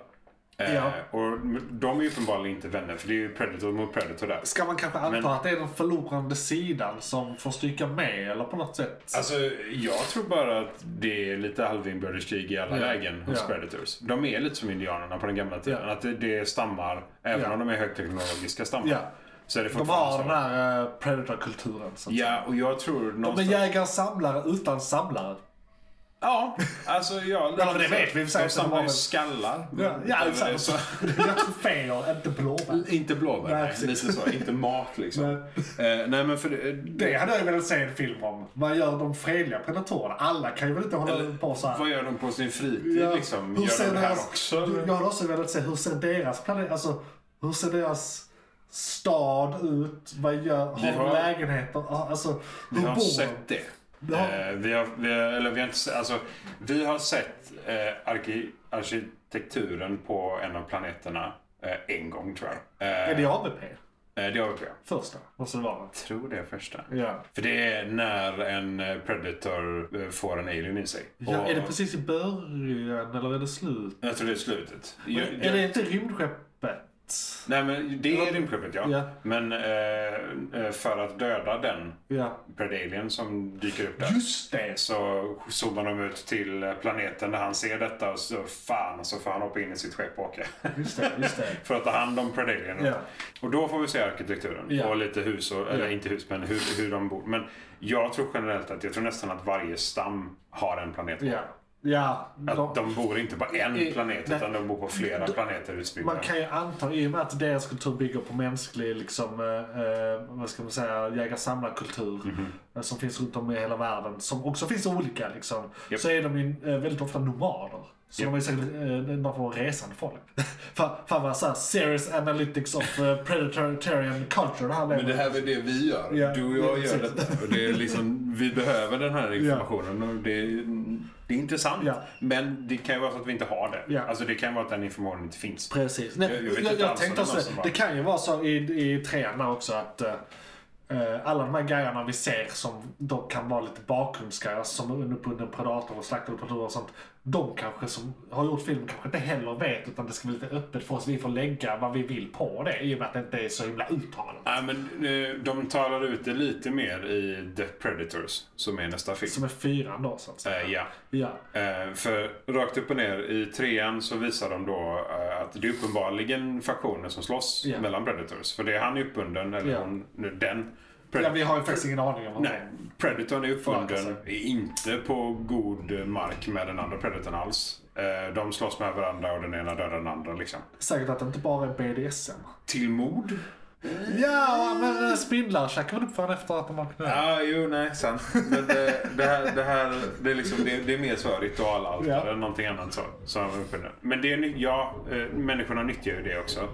S4: Eh,
S1: Ja.
S4: Och de är ju uppenbarligen inte vänner, för det är ju Predator mot Predator där.
S1: Ska man kanske anta
S4: Men-
S1: att det är den förlorande sidan som får stryka med eller på något sätt?
S4: Alltså, jag tror bara att det är lite halvinbördeskrig i alla
S1: Ja.
S4: lägen hos
S1: Ja.
S4: Predators. De är lite som indianerna på den gamla tiden.
S1: Ja.
S4: Att det, det är stammar, även
S1: Ja.
S4: om de är högteknologiska stammar.
S1: Ja.
S4: Så är det
S1: de
S4: fortfarande
S1: har den
S4: stammar.
S1: här eh, predator-kulturen. Så att säga.
S4: Ja, och jag tror
S1: De är
S4: någonstans...
S1: jägare-samlare utan samlare.
S4: Ja, alltså ja.
S1: Ja, men det vet vi i och för sig
S4: De
S1: inte,
S4: samlar
S1: de
S4: ju
S1: har-
S4: skallar.
S1: Ja, ja
S4: Eller
S1: exakt.
S4: så-
S1: Det är troféer, inte blåbär.
S4: Inte blåbär,
S1: Nej,
S4: nej,
S1: precis.
S4: lite så. Inte mat liksom. Eh, nej men för det,
S1: Det hade jag velat se en film om. Vad gör de fredliga predatorerna? Alla kan ju väl inte hålla på så här.
S4: Vad gör de på sin fritid liksom? Gör de det här också? eller?
S1: Jag hade också velat se hur ser deras planet, alltså hur ser deras stad ut? Vad gör, har de
S4: har-
S1: lägenheter? Ja, Alltså hur
S4: Vi har
S1: bor
S4: sett det.
S1: Ja.
S4: Eh, vi, har, vi, har, eller vi, har inte, se- alltså, vi har sett eh, arki, arkitekturen på en av planeterna eh, en gång tror jag. Eh,
S1: de? Är det ABP?
S4: eh, det har vi på. Jag
S1: Första måste det vara.
S4: tror det är första.
S1: Ja.
S4: För det är när en eh, predator eh, får en alien i sig.
S1: ja.
S4: Och-
S1: Är det precis i början eller är det slut?
S4: Jag tror det är slutet. Ju-
S1: Men, är det inte rymdskeppet?
S4: Nej men det är rymdskeppet ja.
S1: Ja.
S4: Men eh, eh, för att döda den
S1: Ja.
S4: predalien som dyker upp där.
S1: Just det!
S4: Så zoomar de ut till planeten där han ser detta och så fan så får han hoppa in i sitt skepp och åka.
S1: Just det, just det.
S4: för att ta hand om predalien.
S1: Ja.
S4: Och då får vi se arkitekturen
S1: Ja.
S4: och lite hus, och, eller
S1: Ja.
S4: inte hus men hur, hur de bor. Men jag tror generellt att jag tror nästan att varje stam har en planet.
S1: Ja. Ja.
S4: Att de bor inte på en
S1: I-
S4: planet
S1: nej.
S4: utan de bor på flera planeter utspridda.
S1: Man kan ju anta, i och med att deras kultur bygger på mänsklig, liksom, eh, eh, vad ska man säga, jägar-samlarkultur
S4: Mhm.
S1: eh, som finns runt om i hela världen, som också finns olika, liksom,
S4: Japp.
S1: så är de ju eh, väldigt ofta nomader. Så de är säkert eh, någon form av resande folk. fan, fan vad såhär, serious analytics of eh, predatorian culture det här blev.
S4: Men det här är det vi gör.
S1: Ja,
S4: du och jag
S1: det-
S4: gör
S1: precis.
S4: detta. Och det är liksom, vi behöver den här informationen. Och det, är, det är intressant.
S1: Ja.
S4: Men det kan ju vara så att vi inte har det.
S1: Ja.
S4: Alltså det kan vara att den informationen inte finns.
S1: Precis.
S4: Jag-
S1: Nej,
S4: jag vet
S1: jag,
S4: inte
S1: jag,
S4: alls om
S1: tänkte
S4: det är någon
S1: också,
S4: som bara-
S1: det kan ju vara så i, i treorna också att eh, eh, alla de här grejerna vi ser som då kan vara lite bakgrundsgrejer som underbunden predator och slaktade predatorer och sånt. De kanske som har gjort filmen kanske inte heller vet utan det ska bli lite öppet för oss. Vi får lägga vad vi vill på det i och med att det inte är så himla uttalat.
S4: Nej, men eh, de talar ut det lite mer i The Predators, som är nästa film.
S1: Som är fyran då så att säga.
S4: Eh, ja.
S1: Ja.
S4: Eh, För rakt upp och ner i trean så visar de då eh, att det är uppenbarligen faktioner som slåss
S1: Ja.
S4: mellan Predators. För det är han är uppbunden, eller
S1: Ja.
S4: hon, den.
S1: ja, vi har ju faktiskt ingen aning om vad
S4: Nej, Predatorn är
S1: Ja, alltså.
S4: uppfunden inte på god mark med den andra Predatorn alls. Eh, De slåss med varandra och den ena dödar den andra. Liksom.
S1: Säkert att det inte bara är BDSM.
S4: Till mord?
S1: Ja, men eh, spindlar käkar väl upp varandra efter att de har knullat?
S4: Ja, ah, jo, nej, sant. Men det, det, här, det, här, det, är liksom, det, det är mer så ritualaltare
S1: Ja.
S4: eller någonting annat så. så han var uppfunnen. Men det är, ny- ja, eh, människorna nyttjar ju det också.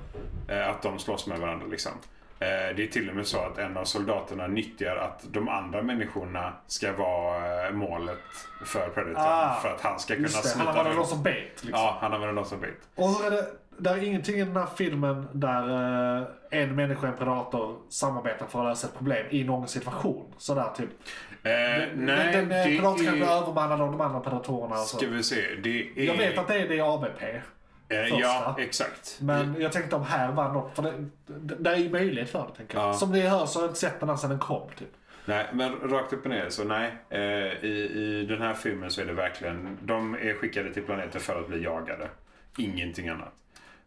S4: Eh, Att de slåss med varandra liksom. Eh, Det är till och med så att en av soldaterna nyttjar att de andra människorna ska vara eh, målet för Predator.
S1: Ah,
S4: för att han ska kunna
S1: Just det, han
S4: smita
S1: har varit
S4: runt.
S1: någon som bet. Liksom.
S4: Ja, han använder dem som bait.
S1: Och hur är det, det är ingenting i den här filmen där eh, en människa och en predator samarbetar för att lösa ett problem i någon situation. Sådär typ.
S4: Eh, nej,
S1: den, den,
S4: det
S1: predatorn kan bli
S4: är...
S1: övermannad av de andra predatorerna. och så.
S4: Ska vi se. Det är...
S1: alltså. Jag vet att det är det i ABP.
S4: eh, Ja,
S1: första.
S4: exakt.
S1: Men jag tänkte om här var något. För det, det, det är ju möjlighet för det tänker jag.
S4: Ja.
S1: Som ni hör så har jag inte sett den här sedan den kom. Typ.
S4: Nej, men rakt upp och ner. Så nej, eh, i, i den här filmen så är det verkligen... De är skickade till planeten för att bli jagade. Ingenting annat.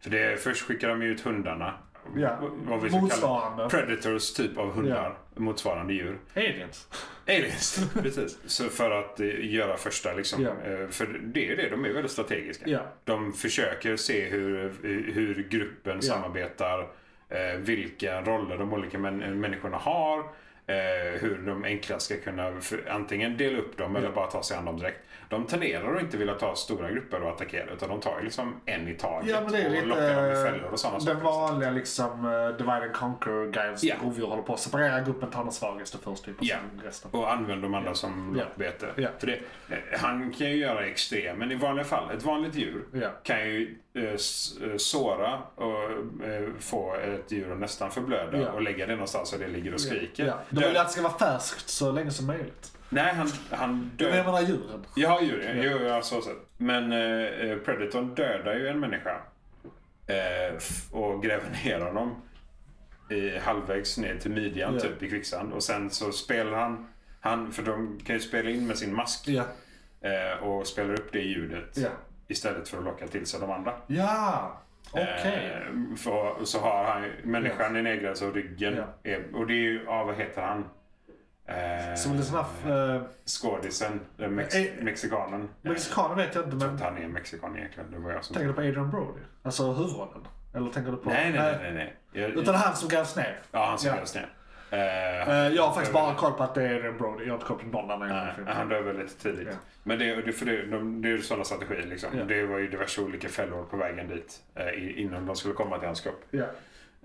S4: För det, först skickar de ut hundarna.
S1: Ja.
S4: Vad vi ska
S1: Motsvarande.
S4: Kalla. Predators typ av hundar. Motsvarande djur.
S1: Aliens.
S4: Aliens. Precis. Så för att eh, göra första liksom.
S1: Ja.
S4: eh, För det är ju det, de är väldigt strategiska.
S1: Ja.
S4: De försöker se hur, eh, hur gruppen samarbetar. eh, Vilka roller de olika män, människorna har. eh, Hur de enklast ska kunna för, antingen dela upp dem eller bara ta sig an dem direkt. De tenderar att inte vilja ta stora grupper och attackera utan de tar ju liksom en i taget
S1: Ja men det är
S4: och lockar dem i
S1: lite
S4: fällor och sådana
S1: den
S4: saker.
S1: vanliga liksom eh, divide and conquer grejen som
S4: Ja.
S1: rovdjur håller på att separera gruppen, ta den svagaste först typ och
S4: Ja.
S1: sen resten.
S4: Och använder de andra som
S1: Ja.
S4: lockbete.
S1: Ja.
S4: För det, eh, han kan ju göra extrem, men i vanliga fall, ett vanligt djur
S1: Ja.
S4: kan ju eh, s- eh, såra och eh, få ett djur att nästan förblöda
S1: Ja.
S4: och lägga det någonstans där det ligger och skriker.
S1: Ja. De
S4: Dö-
S1: vill ju att det ska vara färskt så länge som möjligt.
S4: Nej, han, han
S1: Men
S4: dödar...
S1: jag menar djuren.
S4: Ja, djur. Ja. Jo, ja, så sett. Men eh, Predatorn dödar ju en människa eh, f- och gräver ner honom i, halvvägs ner till midjan
S1: Ja.
S4: typ i kvicksand. Och sen så spelar han, han, för de kan ju spela in med sin mask
S1: Ja.
S4: eh, och spelar upp det ljudet
S1: Ja.
S4: istället för att locka till sig de andra.
S1: Ja, okej.
S4: Eh, för, så har han ju- människan är negrad så ryggen
S1: Ja.
S4: är, och det är ju, ja, vad heter han? Eh,
S1: Som en sån här... eh,
S4: Skådisen, den mex,
S1: Eh,
S4: mexikanen.
S1: Mexikaner vet jag inte men
S4: Att han är mexikan egentligen. Det var jag som...
S1: tänker du på Adrian Brody? Alltså huvudrollen? Eller tänker du på...
S4: Nej, nej, nej. nej, nej. Jag,
S1: Utan han som grävs ner?
S4: ja, han som
S1: Ja.
S4: helst ner. Eh,
S1: Eh, Jag har faktiskt bara koll på att det är Adrian Brody. Jag har inte koll på någon annan i den här
S4: nej,
S1: filmen.
S4: han dör väl lite tidigt.
S1: Ja.
S4: Men det, det, för det, de, det är ju sådana strategier. Liksom.
S1: Ja.
S4: Det var ju diverse olika fällor på vägen dit eh, i- innan de skulle komma till hans kropp.
S1: Ja.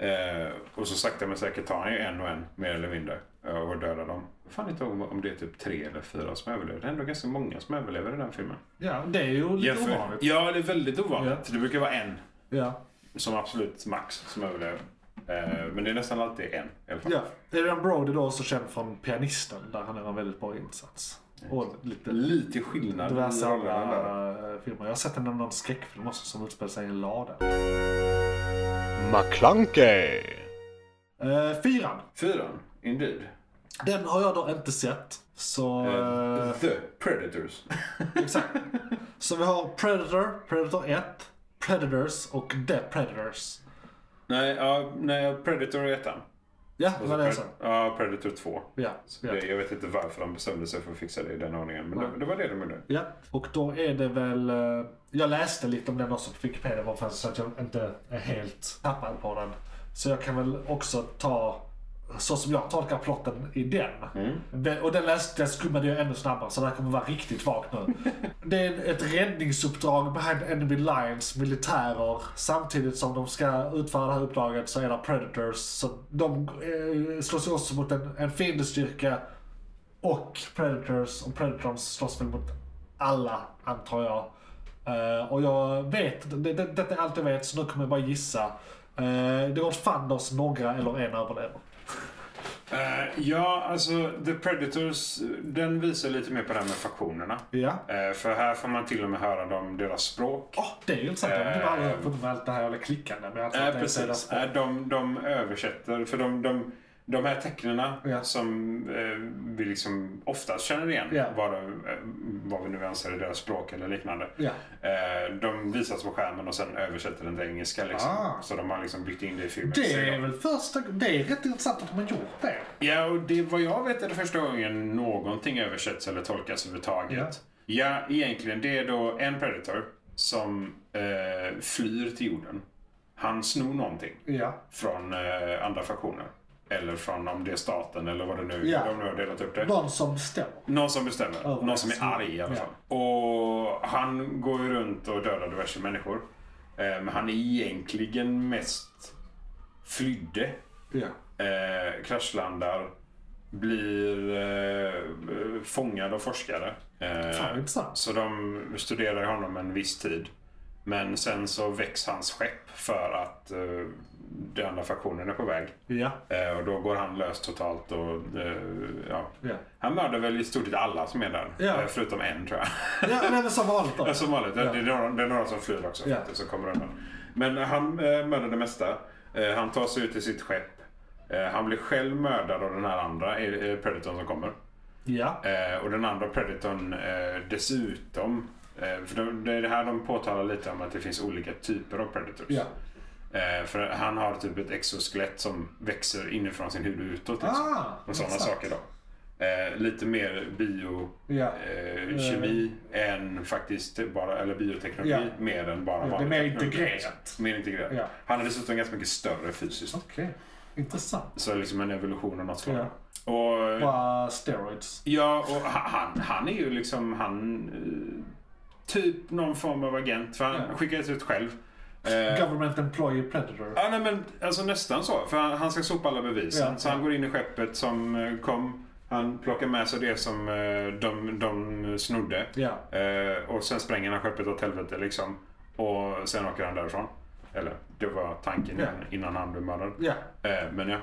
S4: Eh, och så sakta men säkert tar han ju en och en, mer eller mindre, eh, och dödar dem. Jag fan inte om, om det är typ tre eller fyra som överlever. Det är ändå ganska många som överlever i den filmen.
S1: ja, det är ju lite
S4: Jämför-
S1: ovanligt.
S4: Ja, det är väldigt ovanligt. Det brukar vara en
S1: Ja.
S4: som absolut max som överlever. Eh, men det är nästan alltid en i alla fall.
S1: ja. Adrian Brody då också känd från Pianisten där han gör en väldigt bra insats. Och lite
S4: Lite skillnad
S1: diverse
S4: rollerna där.
S1: andra eh, filmer. Jag har sett en av någon skräckfilm också som utspelar sig i en lada.
S3: McClunkey.
S1: Eh, fyran.
S4: Fyran, indeed.
S1: Den har jag då inte sett. Så... eh,
S4: The Predators.
S1: Exakt. Så vi har Predator, Predator 1, Predators och The Predators.
S4: nej, ja, nej, Predator är ettan.
S1: Ja, det var det jag sa.
S4: Pred- Ja, Predator 2.
S1: Ja, ja.
S4: Det, jag vet inte varför de bestämde sig för att fixa det i den ordningen, men det, det var det de gjorde.
S1: ja. Och då är det väl... eh, Jag läste lite om den också på Wikipedia varför, så att jag inte är helt tappad på den. Så jag kan väl också ta så som jag tolkar plotten i den. Den- Och den läste jag skummade jag ännu snabbare så det här kommer vara riktigt vagt nu. det är ett räddningsuppdrag behind enemy lines militärer. Samtidigt som de ska utföra det här uppdraget så är det predators. Så de eh, slåss ju också mot en, en fiendestyrka och predators. Och predators slåss väl mot alla antar jag. Eh, och jag vet, det, det, detta är allt jag vet så nu kommer jag bara gissa. Eh, det går fanders några eller en överlever.
S4: Eh, ja, alltså The Predators, den visar lite mer på det här med faktionerna.
S1: Ja.
S4: Eh, för här får man till och med höra dem, deras språk.
S1: Åh, det är ju intressant. Jag har inte aldrig fått med allt det här jävla klickande. Men jag tror
S4: Nej,
S1: att det är deras
S4: precis.
S1: språk.
S4: Nej, de, de översätter. För de, de, de här tecknena
S1: Ja.
S4: som eh, vi liksom oftast känner igen,
S1: Ja.
S4: vad, de, eh, vad vi nu anser är deras språk eller liknande,
S1: Ja.
S4: eh, de visas på skärmen och sen översätter den till engelska. Liksom.
S1: Ah.
S4: Så de har liksom byggt in det i filmen.
S1: Det är väl första Det är rätt intressant att de har gjort det.
S4: Ja, och det, vad jag vet är det första gången någonting översätts eller tolkas överhuvudtaget. Ja, egentligen. Det är då en predator som eh, flyr till jorden. Han snor någonting.
S1: Ja.
S4: från eh, andra fraktioner. Eller från om det är staten eller vad det nu är.
S1: Ja.
S4: De nu har delat upp det.
S1: Någon som stämmer.
S4: Någon som bestämmer.
S1: Ja,
S4: Någon som är
S1: som-
S4: arg i alla
S1: ja.
S4: fall. Och han går ju runt och dödar diverse människor. Eh, men han är egentligen mest flydde.
S1: Ja.
S4: Eh, kraschlandar. Blir eh, fångad av forskare. Eh,
S1: Fan, vad intressant.
S4: så de studerar honom en viss tid. Men sen så väcks hans skepp för att eh, den andra fraktionen är på väg.
S1: Ja.
S4: Eh, och då går han lös totalt och eh, ja.
S1: Ja.
S4: Han mördar väl i stort sett alla som är där.
S1: Ja.
S4: Eh, förutom en tror jag.
S1: Ja, det är väl som vanligt då.
S4: Ja, som vanligt. Det, är några, det är några som flyr också
S1: Ja.
S4: faktiskt, som kommer undan. Men han eh, mördar det mesta. Eh, han tar sig ut till sitt skepp. Eh, han blir själv mördad av den här andra eh, predatorn som kommer.
S1: Ja.
S4: Eh, och den andra Predatorn eh, dessutom. Eh, för de, det är det här de påtalar lite om att det finns olika typer av Predators.
S1: Ja.
S4: Eh, för han har typ ett exoskelett som växer inifrån sin hud och utåt. Liksom.
S1: Ah,
S4: och sådana
S1: intressant.
S4: saker då. Eh, lite mer bio
S1: Ja.
S4: eh, kemi än faktiskt bara, eller bioteknologi
S1: Ja.
S4: mer än bara
S1: det är
S4: vanlig
S1: mer
S4: teknologi.
S1: integrerat.
S4: Mer integrerat.
S1: Ja.
S4: Han är dessutom ganska mycket större fysiskt.
S1: Okej, intressant.
S4: Så liksom en evolution av något slag. Och,
S1: Bara steroids.
S4: ja, och ha- han, han är ju liksom, han eh, typ någon form av agent. För han
S1: Ja.
S4: skickades ut själv. Eh,
S1: Government employee predator.
S4: Ja, nej, men alltså nästan så. För han, han ska sopa alla bevisen.
S1: Ja.
S4: så han går in i skeppet som eh, kom. Han plockar med sig det som eh, de, de snodde.
S1: Ja.
S4: Eh, och sen spränger han skeppet åt helvete liksom. Och sen åker han därifrån. Eller det var tanken
S1: Ja.
S4: innan- innan han blev mördad.
S1: Ja.
S4: Eh, men ja.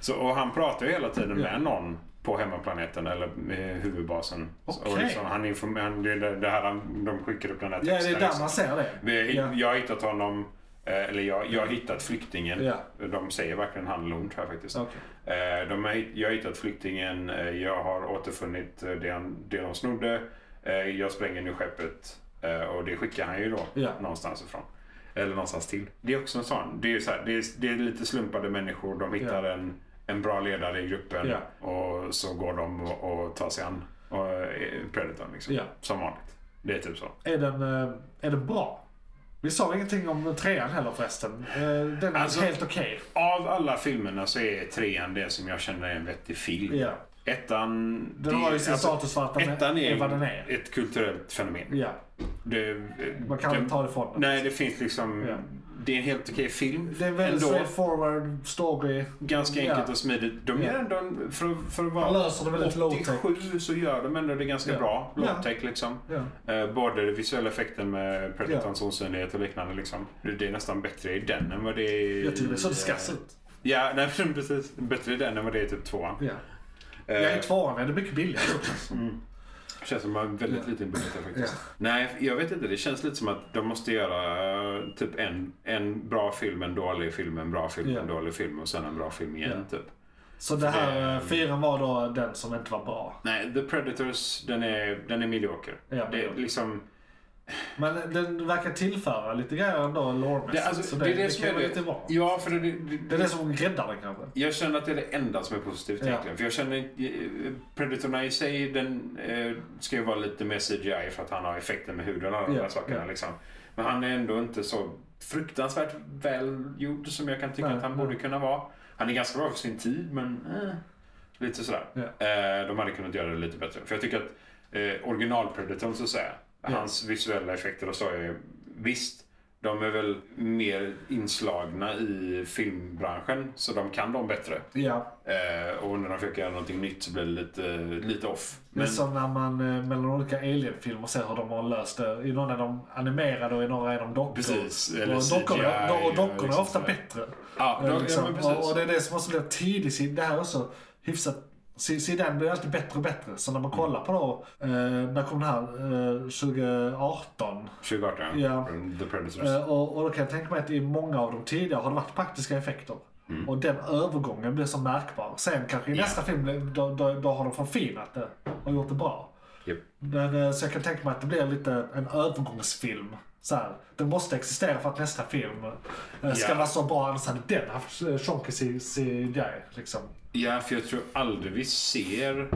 S4: Så, och han pratar ju hela tiden
S1: Ja.
S4: med någon på hemmaplaneten eller eh, huvudbasen. Så- Och
S1: Okej.
S4: liksom, han informerar, det är det- det här han, de skickar upp den här
S1: Ja, det är
S4: texten,
S1: där
S4: liksom.
S1: man ser det.
S4: Vi,
S1: Ja.
S4: Jag har hittat honom, eh, eller jag, jag har hittat flyktingen.
S1: Ja.
S4: De säger verkligen han eller hon tror jag faktiskt.
S1: Okej.
S4: Eh, De har, hitt- jag har hittat flyktingen, eh, jag har återfunnit eh, det, han, det de snodde, eh, jag spränger nu skeppet eh, och det skickar han ju då
S1: Ja.
S4: någonstans ifrån. Eller någonstans till. Det är också en sån. Det är, ju så här, det är, det är lite slumpade människor, de hittar en, en bra ledare i gruppen
S1: Ja.
S4: och så går de och, och tar sig an och, eh, Predatorn liksom.
S1: Ja.
S4: Som vanligt. Det är typ så.
S1: Är den, eh, är den bra? Vi sa ingenting om trean heller förresten. Eh, Den är
S4: Alltså-
S1: helt okej.
S4: Av alla filmerna så är trean det som jag känner är en vettig film.
S1: Ja.
S4: Ettan...
S1: Den har ju sin status för att den är-
S4: alltså, ettan är,
S1: Alltså, är vad den är.
S4: ett kulturellt fenomen.
S1: Ja.
S4: Det,
S1: Man kan
S4: den-
S1: inte ta det ifrån den.
S4: Nej, det finns liksom...
S1: Ja.
S4: Det är en helt okej film.
S1: Det är en väldigt
S4: ändå.
S1: straightforward story.
S4: Ganska
S1: Ja.
S4: enkelt och smidigt. De gör
S1: Ja.
S4: ändå, en- för, för att
S1: Man
S4: vara
S1: löser det väldigt low-tech.
S4: 87 så gör de ändå det ganska
S1: Ja.
S4: bra.
S1: Ja.
S4: Low-tech liksom.
S1: Ja.
S4: Eh, Både den visuella effekten med Predatorns
S1: Ja.
S4: osynlighet och liknande. Liksom. Det det är nästan bättre i den än vad det är i...
S1: Jag tycker det såg det
S4: eh,
S1: skass ut.
S4: Ja, nej, men precis. Bättre i den än vad det är i typ tvåan.
S1: Ja.
S4: Eh,
S1: Jag är tvåan, är det mycket billigare.
S4: känns som att man har väldigt liten budget där faktiskt. Nej, jag vet inte. Det känns lite som att de måste göra eh, typ en, en bra film, en dålig film, en bra film,
S1: Ja.
S4: en dålig film och sen en bra film igen. Typ.
S1: Så det här eh, fyran var då den som inte var bra.
S4: Nej, The Predators, den är, den är medioker.
S1: Ja,
S4: det, är
S1: medioker.
S4: liksom,
S1: Men den verkar tillföra lite grejer ändå loremässigt.
S4: det,
S1: så
S4: alltså,
S1: det,
S4: det är det som
S1: kan
S4: är
S1: ju inte
S4: det.
S1: vara.
S4: Ja, för det, det, det,
S1: Det är det som räddar den kanske.
S4: Jag känner att det är det enda som är positivt
S1: Ja.
S4: egentligen. För jag känner eh, Predatorna i sig den eh, ska ju vara lite mer CGI för att han har effekter med huden och alla de
S1: Ja,
S4: där sakerna.
S1: ja.
S4: Liksom. Men han är ändå inte så fruktansvärt välgjord som jag kan tycka
S1: Nej,
S4: att han
S1: nej.
S4: borde kunna vara. Han är ganska bra för sin tid men eh, lite sådär.
S1: Ja.
S4: Eh, de hade kunnat göra det lite bättre. För jag tycker att eh, original-Predatorn så att säga, hans visuella effekter och så är visst de är väl mer inslagna i filmbranschen så de kan dem bättre.
S1: Ja.
S4: Eh, och när de försöker göra någonting nytt så blir det lite, lite off.
S1: Det är
S4: Men
S1: som när man eh, mellan olika alien-filmer ser hur de har löst det. I någon är de animerade och i några är de dockor.
S4: Precis, eller
S1: och dockorna,
S4: CGI,
S1: och dockorna
S4: liksom
S1: är ofta
S4: sådär.
S1: bättre.
S4: Ja,
S1: Eh,
S4: de- ja,
S1: liksom.
S4: men precis.
S1: och, och det är det som också blir tidigt. i- Det här är också hyfsat... Se- se den blir alltid bättre och bättre. Så
S4: Mm.
S1: när man kollar på då, eh, när kom den här? Eh, 2018.
S4: 2018,
S1: Ja.
S4: från The Predators.
S1: Eh, och, och då kan jag tänka mig att i många av de tidigare har det varit praktiska effekter.
S4: Mm.
S1: Och den övergången blir så märkbar. Sen kanske i nästa film, då, då, då har de förfinat det och gjort det bra.
S4: Japp.
S1: Men, eh, så jag kan tänka mig att det blir lite en övergångsfilm. Så här, den måste existera för att nästa film eh, ska
S4: Ja.
S1: vara så bra, annars hade den haft eh, tjonkig C- CGI. Liksom.
S4: Ja, för jag tror aldrig vi ser...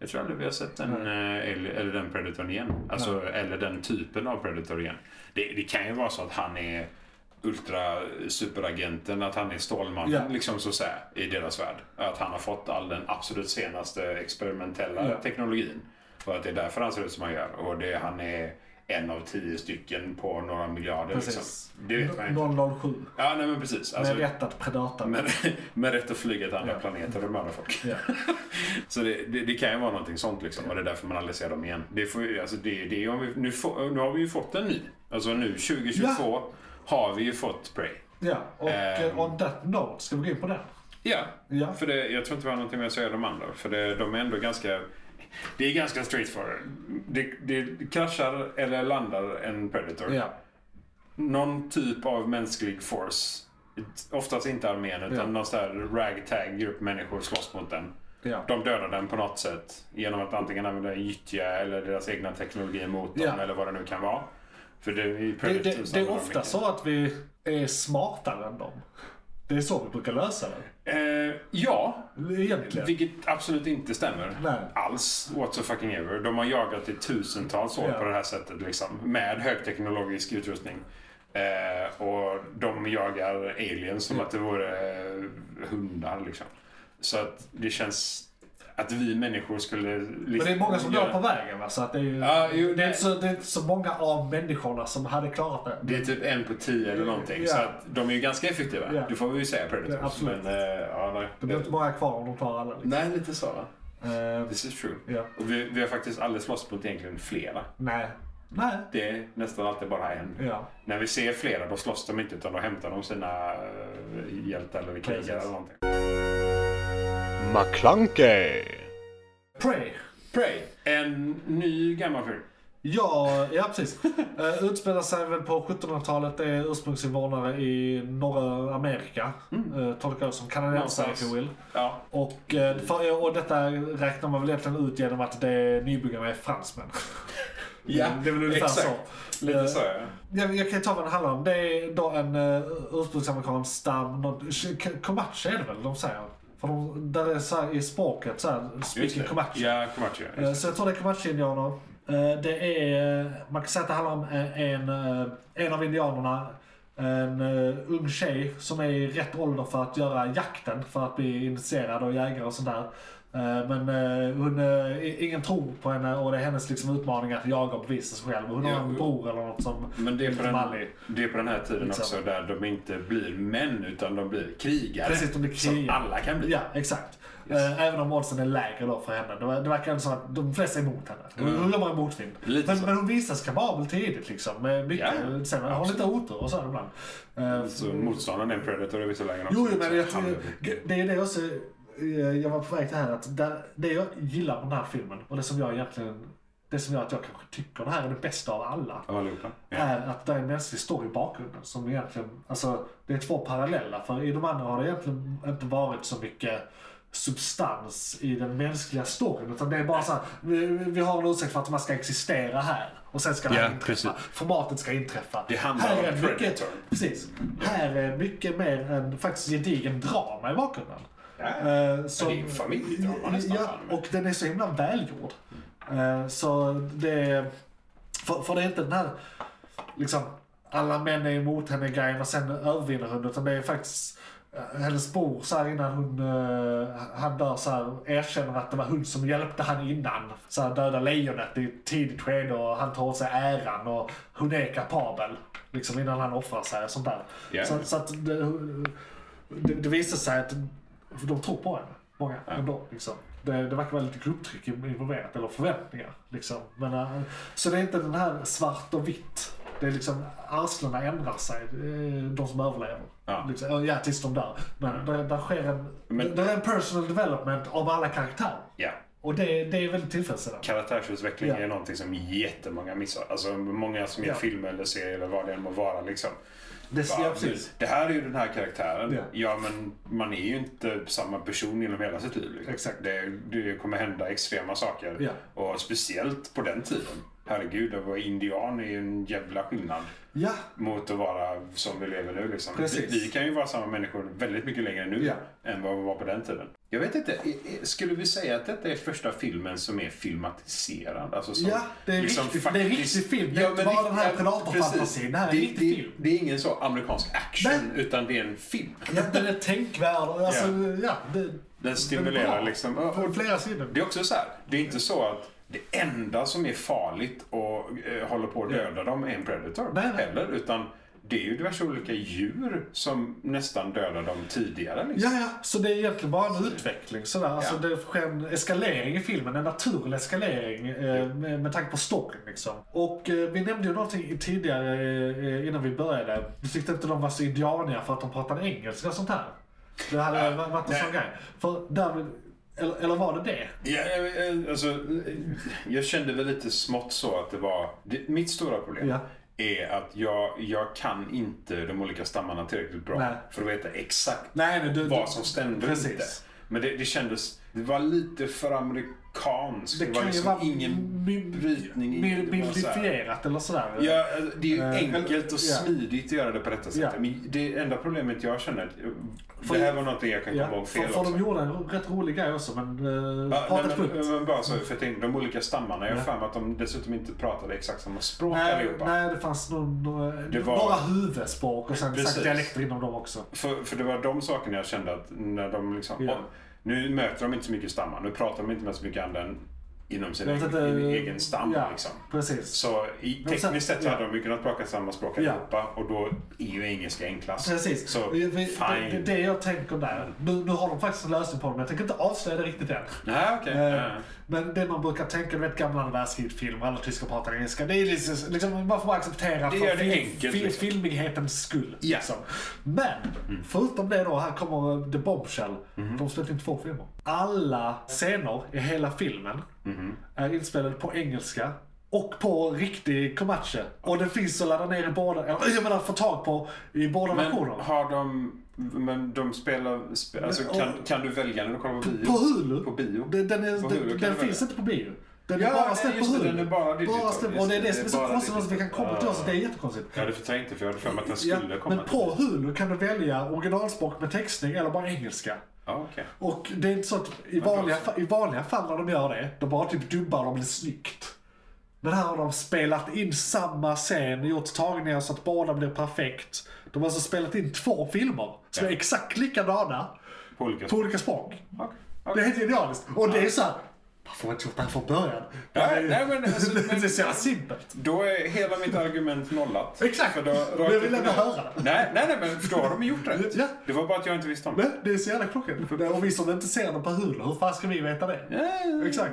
S4: Jag tror aldrig vi har sett den, eh, eller, eller den Predatorn igen. Alltså, Eller den typen av Predator igen. Det, det kan ju vara så att han är ultra superagenten, att han är Stålmannen
S1: Ja.
S4: liksom så att säga, i deras värld. Att han har fått all den absolut senaste experimentella
S1: Ja.
S4: teknologin. Och att det är därför han ser ut som han gör. Och det, han är en av tio stycken på några miljarder. Liksom.
S1: Precis.
S4: Det vet man ju inte.
S1: 007.
S4: Ja, nej men precis. Alltså,
S1: Med rätt att predata.
S4: med, med rätt att flyga till andra
S1: Ja.
S4: planeter och mörda folk.
S1: Ja.
S4: Så det, det, det kan ju vara någonting sånt liksom. Och det är därför man aldrig ser dem igen. Det får, ju- alltså det, det, om vi, nu, får, nu har vi ju fått en ny. Alltså nu 2022 har vi ju fått Prey.
S1: Ja, och
S4: Ehm.
S1: um, on that note, ska vi gå in på den?
S4: Ja.
S1: Ja.
S4: För det, jag tror inte vi har någonting mer att säga om de andra. För det, de är ändå ganska... Det är ganska straightforward. Det, det kraschar eller landar en Predator.
S1: Ja.
S4: Någon typ av mänsklig force. Oftast inte armén utan
S1: Ja.
S4: någon sån här ragtag grupp människor slåss mot den.
S1: Ja.
S4: De dödar den på något sätt genom att antingen använda gyttja eller deras egna teknologi mot dem
S1: Ja.
S4: eller vad det nu kan vara. För det, i
S1: Det,
S4: Predator
S1: det, det är
S4: samlar de
S1: ofta
S4: mycket.
S1: så att vi är smartare än dem. Det är så vi brukar lösa det.
S4: Eh, ja,
S1: Egentligen.
S4: vilket absolut inte stämmer
S1: Nej.
S4: alls. What the fucking ever. De har jagat i tusentals år
S1: Ja.
S4: på det här sättet liksom. Med högteknologisk utrustning. Eh, och de jagar aliens
S1: Mm.
S4: som att det vore eh, hundar liksom. Så att det känns att vi människor skulle...
S1: Men det är många som dör på vägen va? Så att det, är, ju-
S4: Ja, jo,
S1: det, är
S4: det-
S1: inte så, det är inte så många av människorna som hade klarat det.
S4: Det är typ en på tio eller någonting.
S1: Ja.
S4: Så att de är ju ganska effektiva.
S1: Ja.
S4: Det får vi ju säga Predators.
S1: Ja, absolut.
S4: Men, eh, ja, nej.
S1: Det blir inte många kvar om de klarar alla. Liksom.
S4: nej, lite så va?
S1: Eh,
S4: This is true.
S1: ja.
S4: Och vi, vi har faktiskt aldrig slåss mot egentligen flera.
S1: Nej. Nej.
S4: Det är nästan alltid bara en.
S1: Ja.
S4: När vi ser flera då slåss de inte utan då hämtar de sina eh, hjältar eller krigare
S1: Precis.
S4: eller någonting.
S3: McClunkey.
S1: Prey.
S4: Prey. En ny gammal film.
S1: Ja, ja precis. Eh, utspelar sig väl på 1700-talet, är ursprungsinvånare i norra Amerika. Eh, tolkar jag som kanadensare if
S4: Mm. Någonstans.
S1: you will.
S4: Ja.
S1: Och, eh, för, och detta räknar man väl egentligen ut genom att det nybyggarna är fransmän. det är väl ungefär så.
S4: Lite
S1: Eh,
S4: så ja.
S1: Jag, jag kan ju ta vad den handlar om. Det är då en uh, ursprungsamerikansk stam, någon- k- Comanche är det väl de säger? För de, där är så här i språket, så här,
S4: Just
S1: speaking
S4: det.
S1: Comanche.
S4: Ja, Comanche. ja,
S1: Eh,
S4: just
S1: Så jag tror det är Comanche-indianer. Eh, Det är, eh, man kan säga att det handlar om eh, en, eh, en av indianerna, en eh, ung tjej som är i rätt ålder för att göra jakten, för att bli initierad och jägare och sånt där. Eh, Men eh, hon, eh, i- ingen tror på henne och det är hennes liksom utmaning att jaga och bevisa sig själv. Hon
S4: Ja,
S1: har en
S4: och-
S1: bror eller något som
S4: Men det är, på
S1: lite
S4: den,
S1: mallig.
S4: det är på den här tiden
S1: Liksom.
S4: också där de inte blir män utan de blir krigare.
S1: Precis, de blir
S4: Som
S1: krigare.
S4: alla kan bli.
S1: Ja, exakt. Eh, Även om oddsen är lägre då för henne. Det, ver- det verkar ändå som att de flesta är emot henne. Hon hon jobbar i motvind.
S4: Mm. Lite
S1: Men,
S4: så.
S1: men hon visas kapabel tidigt liksom. Med mycket,
S4: Ja, Mm,
S1: sen, hon har lite otur och så ibland. Eh,
S4: Så motståndaren är en predator i vissa lägen också.
S1: Jo, jo, men jag,
S4: Han-
S1: det är det jag också, eh, jag var på väg till här, att där, det jag gillar med den här filmen och det som jag egentligen, det som gör att jag kanske tycker det här är det bästa av alla.
S4: Av allihopa. Ja.
S1: är att det är en mänsklig story i bakgrunden som egentligen, alltså det är två parallella för i de andra har det egentligen inte varit så mycket substans i den mänskliga storyn utan det är bara så här, vi, vi har en ursäkt för att man ska existera här och sen ska det
S4: Ja,
S1: här inträffa.
S4: precis.
S1: Formatet ska inträffa.
S4: Det handlar
S1: här
S4: om
S1: är mycket-
S4: Predator.
S1: Precis. Här är mycket mer en faktiskt gedigen drama i bakgrunden. Eh, så-
S4: det är ju en familjedrama nästan,
S1: Ja,
S4: fan, men-
S1: och den är så himla välgjord. Eh, Så det är... För, för det är inte den här liksom alla män är emot henne grejen och sen övervinner hon utan det är faktiskt eh, hennes bror så här innan hon, eh, han dör så här, erkänner att det var hon som hjälpte han innan. Så här, döda lejonet i ett tidigt skede och han tar åt sig äran och hon är kapabel. Liksom innan han offrar sig och sånt där.
S4: Ja.
S1: Så, så att det, det, det visar sig att de tror på henne, många ändå. Liksom. Det, det verkar vara lite grupptryck involverat, eller förväntningar. Liksom. Men, eh, så det är inte den här svart och vitt. Det är liksom arslena ändrar sig, eh, de som överlever.
S4: Ja.
S1: Liksom, eh, ja, Mm. tills de dör. Men där, där sker en,
S4: Men-
S1: där är en personal development av alla karaktärer.
S4: ja.
S1: Och det, det är väldigt tillfredsställande.
S4: Karaktärsutveckling
S1: Ja.
S4: är någonting som jättemånga missar. Alltså många som gör
S1: Ja.
S4: filmer eller serier eller vad det än må vara liksom.
S1: Det,
S4: Bara,
S1: ja, precis.
S4: Det här är ju den här karaktären.
S1: Ja.
S4: Ja. men man är ju inte samma person genom hela sitt liv. liksom.
S1: Exakt.
S4: Det, det kommer hända extrema saker.
S1: Ja.
S4: Och speciellt på den tiden. Herregud, att vara indian är ju en jävla skillnad
S1: Ja,
S4: mot att vara som vi lever nu. Liksom.
S1: Precis.
S4: Vi, vi kan ju vara samma människor väldigt mycket längre nu
S1: Ja.
S4: än vad vi var på den tiden. Jag vet inte, i- i- skulle vi säga att detta är första filmen som är filmatiserad? Alltså som,
S1: Ja, det är riktigt- det är riktig film. Det är inte
S4: men
S1: bara den här
S4: riktigt-
S1: predatorfantasin.
S4: precis.
S1: Det här är
S4: det,
S1: riktig
S4: det,
S1: film.
S4: Det är ingen så amerikansk action, utan det är en film.
S1: ja, den är tänkvärd. och Alltså, ja, det,
S4: Den stimulerar
S1: bra.
S4: liksom.
S1: på
S4: Och
S1: flera sidor.
S4: det är också så här, det är inte så att det enda som är farligt och eh, håller på att döda dem är en predator
S1: Nej, nej.
S4: heller. Utan det är ju diverse olika djur som nästan dödar dem tidigare. Liksom.
S1: Ja, ja, så det är egentligen bara en utveckling. Sådär. Alltså,
S4: Ja.
S1: Det sker en eskalering i filmen, en naturlig eskalering eh, med, med tanke på storyn. Liksom. Och eh, vi nämnde ju någonting tidigare eh, innan vi började. Du tyckte inte de var så indianiga för att de pratade engelska och sånt här. Det hade
S4: Äh,
S1: varit en
S4: nej.
S1: sån grej. För där, eller, eller var det det?
S4: Ja, eh, eh, alltså, eh, jag kände väl lite smått så att det var... Det, mitt stora problem
S1: Ja.
S4: är att jag, jag kan inte de olika stammarna tillräckligt bra
S1: Nej.
S4: för att veta exakt
S1: Nej, nej, du-
S4: vad som stämde och
S1: Precis.
S4: inte. Men det, det kändes... Det var lite för amerikanskt amerikansk.
S1: Det
S4: var
S1: kan ju
S4: liksom
S1: vara
S5: ingen
S1: mi-
S5: brytning i-
S1: mi-
S5: det var så här-
S1: Mildifierat eller sådär.
S4: Ja, det är ju
S1: Eh,
S4: enkelt
S1: ja.
S4: och smidigt att göra det på detta sättet.
S1: Ja.
S4: Men det enda problemet jag känner, eh,
S1: För-
S4: det här var någonting jag kan komma
S1: Ja,
S4: ihåg
S1: för,
S4: fel
S1: för
S4: också.
S1: de gjorde en rätt rolig grej också men... Uh,
S4: Ja,
S1: pratet
S4: nej,
S1: sjukt.
S4: men, eh, men bara så för att tänka, de olika stammarna, jag har
S1: Ja.
S4: för mig att de dessutom inte pratade exakt samma språk
S1: Nej,
S4: allihopa.
S1: nej, det fanns nog några,
S4: Det var-
S1: några huvudspråk och sen
S4: Precis.
S1: sagt dialekter inom dem också.
S4: För, för det var de sakerna jag kände att när de liksom,
S1: Ja.
S4: "Åh, nu möter de inte så mycket stammar, nu pratar de inte med så mycket andra än inom sin
S1: Jag vet
S4: egen,
S1: inte,
S4: egen stam.
S1: ja,
S4: Liksom.
S1: Precis.
S4: Så i,
S1: Men sen-
S4: tekniskt sett
S1: ja.
S4: hade de ju kunnat plocka samma språk
S1: Ja.
S4: allihopa och då är ju engelska enklast.
S1: Precis.
S4: Så
S1: Vi- vi-
S4: fine.
S1: det, det jag tänker där, nu, nu har de faktiskt en lösning på det men jag tänker inte avslöja det riktigt än.
S4: Nej, okej.
S1: Eh,
S4: Ja.
S1: Men det man brukar tänka, du vet gamla andra världskrigsfilmer, alla tyskar pratar engelska. Det är liksom, liksom, man får bara acceptera
S4: Det
S1: för
S4: gör det
S1: fil-
S4: enkelt,
S1: fil-
S4: liksom.
S1: filmighetens skull.
S4: Ja. Mm.
S1: Liksom. Men, förutom det då, här kommer eh, The Bombshell.
S4: Mm-hmm.
S1: De släppte in två filmer. Alla scener i hela filmen
S4: Mm-hmm.
S1: är inspelade på engelska. Och på riktig Comanche. Och den finns att ladda ner i båda, eller jag menar få tag på i båda
S4: Men
S1: versioner.
S4: har de... Men de spelar... Spe, alltså,
S1: Men,
S4: kan,
S1: och-
S4: kan du välja när du kollar på bio?
S1: På Hulu.
S4: På bio?
S1: Den, den, är,
S4: På
S1: den,
S4: Hulu kan
S1: den
S4: du
S1: finns
S4: välja.
S1: inte på bio. Den
S4: Ja,
S1: är bara
S4: nej,
S1: släppt på
S4: just det,
S1: Hulu.
S4: den är bara digital,
S1: släppt-
S4: just
S1: och det är
S4: det,
S1: det som är så
S4: bara
S1: konstigt att vi kan
S4: digital.
S1: komma till oss. Det är jättekonstigt.
S4: Ja, det förträngt inte för jag hade för mig att den
S1: Ja,
S4: skulle komma
S1: men på Hulu kan du välja originalspråk med textning eller bara engelska.
S4: Ja, okej.
S1: Och det är inte så att i
S4: då
S1: vanliga,
S4: så.
S1: fa- i vanliga fall när de gör det, de bara typ dubbar dem lite snyggt. Men här har de spelat in samma scen, gjort tagningar så att båda blir perfekt. De har alltså spelat in två filmer som är
S4: Ja.
S1: exakt likadana
S4: På olika
S1: på
S4: språk.
S1: olika språk.
S4: Okej,
S1: Det är
S4: okej.
S1: helt idealiskt. Och det är så här, varför har jag inte gjort det här från början?
S4: Nej, nej, men alltså,
S1: det är
S4: men-
S1: så jävla simpelt.
S4: Då är hela mitt argument nollat.
S1: Exakt.
S4: För då,
S1: Men jag
S4: rakt
S1: vill
S4: upp och
S1: ändå
S4: ner.
S1: höra.
S4: Nej, nej, nej, men för då har de gjort rätt.
S1: Ja.
S4: Det var bara att jag inte visste om
S1: Nej,
S4: det.
S1: det är så jävla klockrent. Och vi som inte ser det på Hulu, hur fan ska vi veta det?
S4: Ja.
S1: Exakt.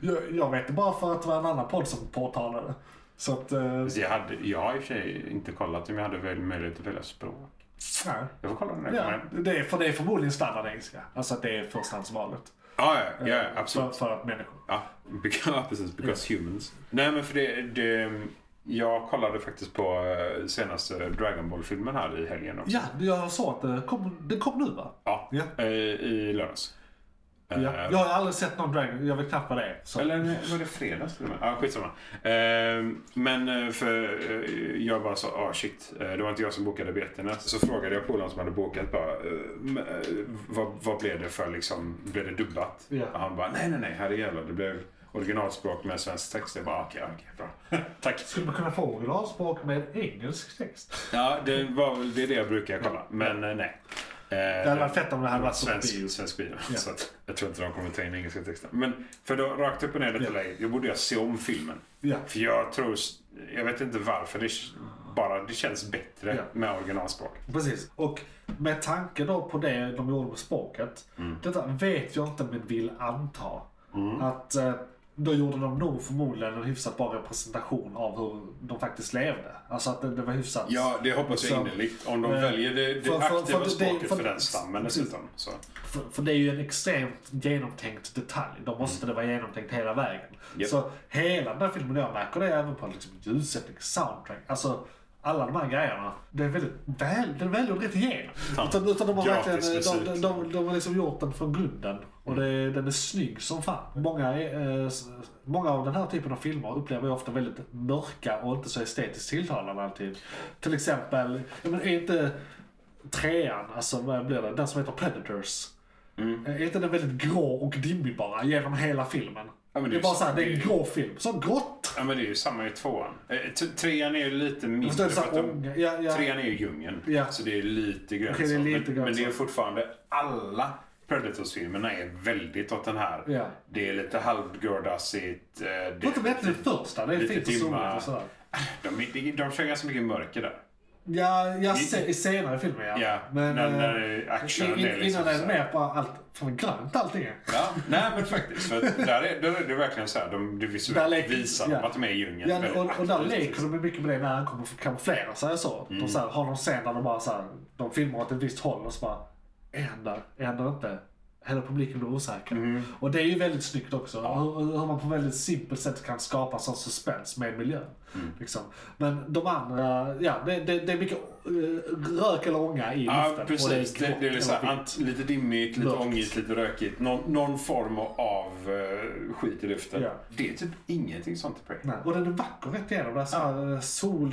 S1: Jag, jag vet det bara för att det var en annan podd som påtalade det. Så att... Eh,
S4: Så Jag, hade, jag har i och för sig inte kollat om jag hade väl möjlighet att välja språk.
S1: nej.
S4: Jag får kolla när jag
S1: Ja,
S4: kommer hem.
S1: det, är, för det är förmodligen standard engelska. Alltså att det är förstahandsvalet.
S4: Ja, ja, ja, absolut.
S1: För, för att människor.
S4: Ja, because, ja, precis. Because humans. Nej, men för det, det... Jag kollade faktiskt på eh, senaste Dragon Ball-filmen här i helgen också.
S1: Ja, jag sa att det kom, det kom nu va?
S4: Ja,
S1: Ja.
S4: eh, I lördags. Eh,
S1: Ja. Jag har aldrig sett någon Dragon, jag vet knappt vad det är. Så.
S4: Eller nej, var det fredags till och med? Ja, skitsamma. Eh, men eh, för eh, jag bara sa, ah shit, eh, det var inte jag som bokade biljetterna. Så frågade jag polaren som hade bokat bara, eh, men, eh, vad, vad blev det för liksom, blev det dubbat?
S1: Ja.
S4: Och han bara, nej nej nej, herrejävlar, det blev originalspråk med svensk text. Jag bara, okej, okej, bra. Tack.
S1: Skulle man kunna få originalspråk med engelsk text?
S4: Ja, det, var, väl- det är det jag brukar kolla, men eh, nej.
S1: Det hade varit fett om det hade varit så på bio.
S4: svensk, svensk bio. Så att, jag tror inte de kommer ta in engelska texten. Men för då, rakt upp och ner lite
S1: Ja.
S4: läge, då borde jag se om filmen.
S1: Ja.
S4: För jag tror, jag vet inte varför, det, bara, det känns bättre
S1: Ja.
S4: med originalspråk.
S1: Precis. Och med tanke då på det de gjorde med språket. Detta vet jag inte men vill anta. Att eh, då gjorde de nog förmodligen en hyfsat bra representation av hur de faktiskt levde. Alltså att det, det var hyfsat.
S4: Ja, det hoppas jag
S1: Så-
S4: innerligt. Om de
S1: Eh,
S4: väljer det, det
S1: för- för-
S4: aktiva
S1: för det-
S4: språket
S1: för-
S4: för, den stammen dessutom. Så.
S1: För, för det är ju en extremt genomtänkt detalj. Då måste det vara genomtänkt hela vägen.
S4: Mm. Japp.
S1: Så hela den här filmen, jag märker det även på liksom ljussättning, soundtrack, alltså alla de här grejerna. Det är väldigt väl, det är väldigt rätt igenom.
S4: Fan.
S1: Utan, utan de har
S4: Gratis
S1: verkligen, de, de,
S4: musik.
S1: de, de har liksom gjort den från grunden. Och det, den är snygg som fan. Många, eh, s- många av den här typen av filmer upplever jag ofta väldigt mörka och inte så estetiskt tilltalande alltid. Till exempel, jag men, är inte trean, alltså vad blir det, den som heter Predators.
S4: Mm.
S1: Är inte den väldigt grå och dimmig bara genom hela filmen?
S4: Ja,
S1: det,
S4: men det
S1: är
S4: är
S1: bara
S4: ju-
S1: såhär, det är en
S4: det är-
S1: grå film. Så grått!
S4: Ja, men det är ju samma i tvåan. Eh, t- trean är ju lite
S1: Förstår
S4: mindre.
S1: du, så
S4: För
S1: här
S4: att de,
S1: ånga- ja, ja.
S4: Trean är ju djungeln.
S1: Ja.
S4: Så det är lite grönt.
S1: Okej, det är
S4: så.
S1: lite
S4: men,
S1: grönt
S4: men det är
S1: så.
S4: fortfarande alla Predators-filmerna är väldigt åt den här.
S1: Ja.
S4: Det är lite halvgårdassigt. eh, Det,
S1: Det var inte bättre än första, det är
S4: lite
S1: fint och soligt
S4: dimma.
S1: och sådär.
S4: De, är- de, de kör ganska mycket mörker där.
S1: Ja, jag se, i senare filmer ja.
S4: Ja, när- när det är action
S1: eh,
S4: och
S1: in,
S4: det är liksom
S1: Innan är det
S4: så
S1: mer bara allt, fan grönt allting är.
S4: Ja, nej men faktiskt. För att där, är, där är det verkligen så här, de, det
S1: Där
S4: visuellt
S1: leker-
S4: visar
S1: ja.
S4: att de är i djungeln.
S1: Ja,
S4: väldigt
S1: och, och där
S4: aktivt. Mm.
S1: leker de mycket med det när han kommer för- kamouflera sig och så. De så här, har någon scen där de bara så här, de filmar åt ett visst håll och så bara, är han där? Är han där inte? hela publiken blir osäker.
S4: Mm.
S1: Och det är ju väldigt snyggt också. Hur, hur man på väldigt simpelt sätt kan skapa sån suspens med miljön.
S4: Mm.
S1: Liksom. Men de andra, ja det, det, det är mycket eh, rök eller ånga i
S4: Ja,
S1: luften. och
S4: precis.
S1: grått
S4: Det, det är
S1: eller
S4: så här,
S1: vitt.
S4: ant- lite dimmigt, lite
S1: Mörkt.
S4: ångigt, lite rökigt. Någon, någon form av eh, skit i luften.
S1: Ja.
S4: Det är typ ingenting sånt i Prey.
S1: Nej, Och den är vacker rätt igenom. Det är så här, eh,